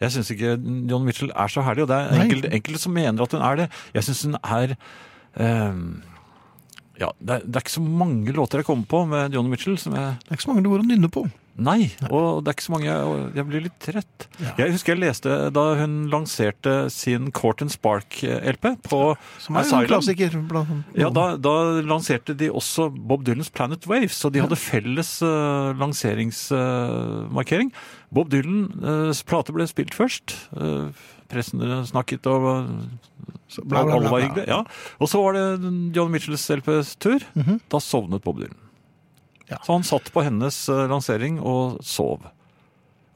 [SPEAKER 3] Jeg syns ikke John Mitchell er så herlig, og det er
[SPEAKER 2] Nei.
[SPEAKER 3] enkelte enkelte som mener at hun er det. Jeg syns hun er ehm, Ja, det er, det er ikke så mange låter jeg kommer på med John Mitchell som jeg
[SPEAKER 2] Det er ikke så mange det går å nynne på.
[SPEAKER 3] Nei, og det er ikke så mange jeg, og jeg blir litt trett.
[SPEAKER 2] Ja.
[SPEAKER 3] Jeg husker jeg leste da hun lanserte sin Court and Spark-LP på
[SPEAKER 2] Som er jo en
[SPEAKER 3] Asylum.
[SPEAKER 2] klassiker. Blant,
[SPEAKER 3] Ja, da, da lanserte de også Bob Dylans Planet Waves, så de hadde felles eh, lanseringsmarkering. Bob Dylans plate ble spilt først. eh, pressen snakket og
[SPEAKER 2] Så
[SPEAKER 3] bla, alle var hyggelige. Ja. Og så var det John Mitchells LPs tur. Da sovnet Bob Dylan.
[SPEAKER 2] Ja.
[SPEAKER 3] Så han satt på hennes eh, lansering og sov.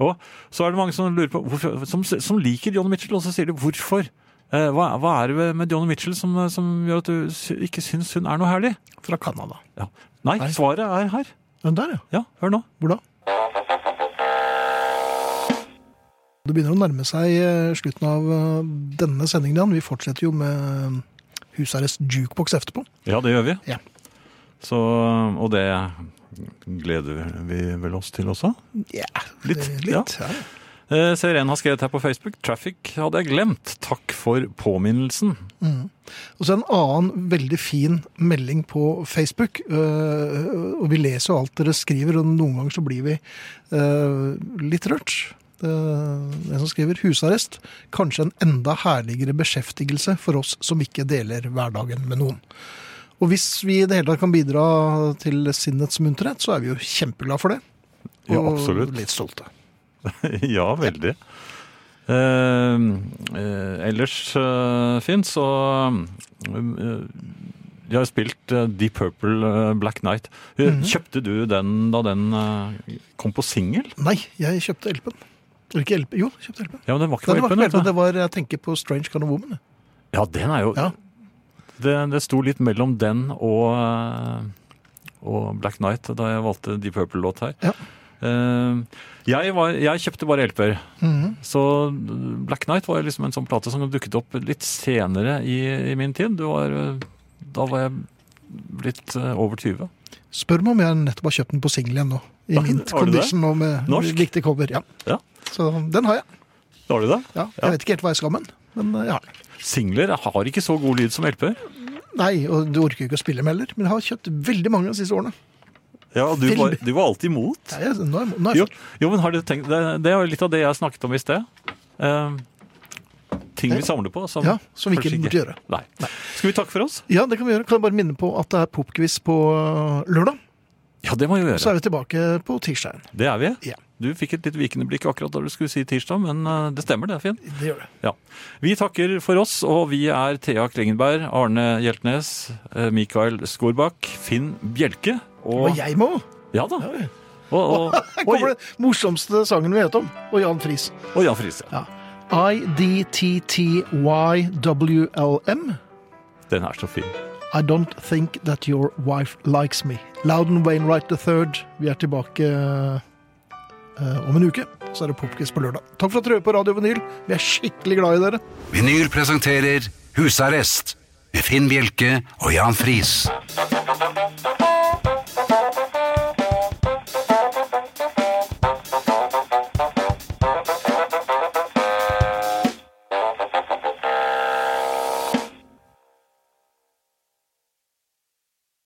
[SPEAKER 3] Og så er det mange som lurer på hvorfor, som, som liker John Mitchell, og så sier de hvorfor. Eh, Hva, hva er det ved- med John Mitchell som, eh, som gjør at du sy- ikke syns hun er noe herlig?
[SPEAKER 2] Fra Canada.
[SPEAKER 3] Ja. Nei,
[SPEAKER 2] Nei.
[SPEAKER 3] svaret er her.
[SPEAKER 2] Den der, ja.
[SPEAKER 3] Ja, hør nå.
[SPEAKER 2] Hvor da? Det begynner å nærme seg eh, slutten av eh, denne sendingen. Jan. Vi fortsetter jo med eh, Husarrest jukebox etterpå.
[SPEAKER 3] Ja, det gjør vi.
[SPEAKER 2] Ja.
[SPEAKER 3] Så, og det gleder vi vel oss til også?
[SPEAKER 2] Ja,
[SPEAKER 3] Litt,
[SPEAKER 2] det-
[SPEAKER 3] ja.
[SPEAKER 2] litt. Ja.
[SPEAKER 3] Eh, Ser en har skrevet her på Facebook. Traffic hadde jeg glemt. Takk for påminnelsen.
[SPEAKER 2] Og så en annen veldig fin melding på Facebook. øh, og vi leser jo alt dere skriver, og noen ganger så blir vi øh, litt rørt. Uh, en som skriver 'husarrest'. Kanskje en enda herligere beskjeftigelse for oss som ikke deler hverdagen med noen. Og hvis vi i det hele tatt kan bidra til sinnets munterhet, så er vi jo kjempeglade for det.
[SPEAKER 3] Ja,
[SPEAKER 2] og
[SPEAKER 3] absolutt.
[SPEAKER 2] litt stolte.
[SPEAKER 3] ja, veldig. Eh, eh, ellers, eh, Finn, så eh, Jeg har spilt eh, Deep Purple eh, Black Night. Eh, Kjøpte du den da den eh, kom på singel?
[SPEAKER 2] Nei, jeg kjøpte LP-en. Eller ikke LP, jo, jeg kjøpte LP.
[SPEAKER 3] Ja, men den var ikke
[SPEAKER 2] Nei, det
[SPEAKER 3] på
[SPEAKER 2] var ikke
[SPEAKER 3] LP-en.
[SPEAKER 2] LP,
[SPEAKER 3] vet du.
[SPEAKER 2] det var Jeg tenker på Strange Kind of Woman. jeg.
[SPEAKER 3] Ja, den er jo
[SPEAKER 2] Ja.
[SPEAKER 3] det, det sto litt mellom den og, eh, og Black Night da jeg valgte Deep Purple-låt her.
[SPEAKER 2] Ja.
[SPEAKER 3] Eh, jeg, var, jeg kjøpte bare LP-er.
[SPEAKER 2] Mhm.
[SPEAKER 3] Så Black Night var liksom en sånn plate som dukket opp litt senere i, i min tid. Det var, eh, da var jeg blitt eh, over 20.
[SPEAKER 2] Spør meg om jeg nettopp har kjøpt den på singel igjen nå. I
[SPEAKER 3] Ja,
[SPEAKER 2] mint
[SPEAKER 3] har du det?
[SPEAKER 2] condition og med
[SPEAKER 3] Norsk?
[SPEAKER 2] riktig cover. Ja.
[SPEAKER 3] Ja.
[SPEAKER 2] Så den har jeg.
[SPEAKER 3] Har du det?
[SPEAKER 2] Ja, jeg
[SPEAKER 3] Ja.
[SPEAKER 2] vet ikke helt hva jeg skal med den, men eh, jeg har den.
[SPEAKER 3] Singler har ikke så god lyd som LP-er.
[SPEAKER 2] Nei, og du orker jo ikke å spille med heller, men jeg har kjøpt veldig mange de siste årene.
[SPEAKER 3] Ja, og du,
[SPEAKER 2] Film.
[SPEAKER 3] var- du var alltid imot.
[SPEAKER 2] Nei, jeg, nå er, nå er
[SPEAKER 3] Jo,
[SPEAKER 2] jeg fått-
[SPEAKER 3] jo men har du tenkt det, det er jo litt av det jeg snakket om i sted. Eh, ting vi samler på som,
[SPEAKER 2] Ja, som vi
[SPEAKER 3] kanskje
[SPEAKER 2] ikke burde gjøre.
[SPEAKER 3] Nei. Skal vi takke for oss?
[SPEAKER 2] Ja, det kan vi gjøre. Kan jeg bare minne på at det er popquiz på øh, lørdag.
[SPEAKER 3] Ja, det må vi
[SPEAKER 2] Så
[SPEAKER 3] gjøre.
[SPEAKER 2] er vi tilbake på tirsdagen.
[SPEAKER 3] Det er vi.
[SPEAKER 2] Ja.
[SPEAKER 3] Du fikk et litt vikende blikk akkurat da du skulle si tirsdag, men eh, det stemmer det, Finn.
[SPEAKER 2] Det gjør det.
[SPEAKER 3] Ja. Vi takker for oss, og vi er Thea Klingenberg, Arne Hjeltnes, eh, Mikael Skorbakk, Finn Bjelke og,
[SPEAKER 2] Og jeg må!
[SPEAKER 3] Ja da.
[SPEAKER 2] ja.
[SPEAKER 3] Og, og,
[SPEAKER 2] Her
[SPEAKER 3] og,
[SPEAKER 2] kommer den morsomste sangen vi vet om. Og Jan Friis.
[SPEAKER 3] og Jan Friise.
[SPEAKER 2] Ja. IDTTYWLM.
[SPEAKER 3] Den er så fin.
[SPEAKER 2] I don't think that your wife likes me. Loudon Wainwright III. Vi er tilbake eh, om en uke. Så er det popquiz på lørdag. Takk for at dere hører på Radio Vinyl. Vi er skikkelig glad i dere.
[SPEAKER 1] Vinyl presenterer Husarrest med Finn Bjelke og Jan Friis.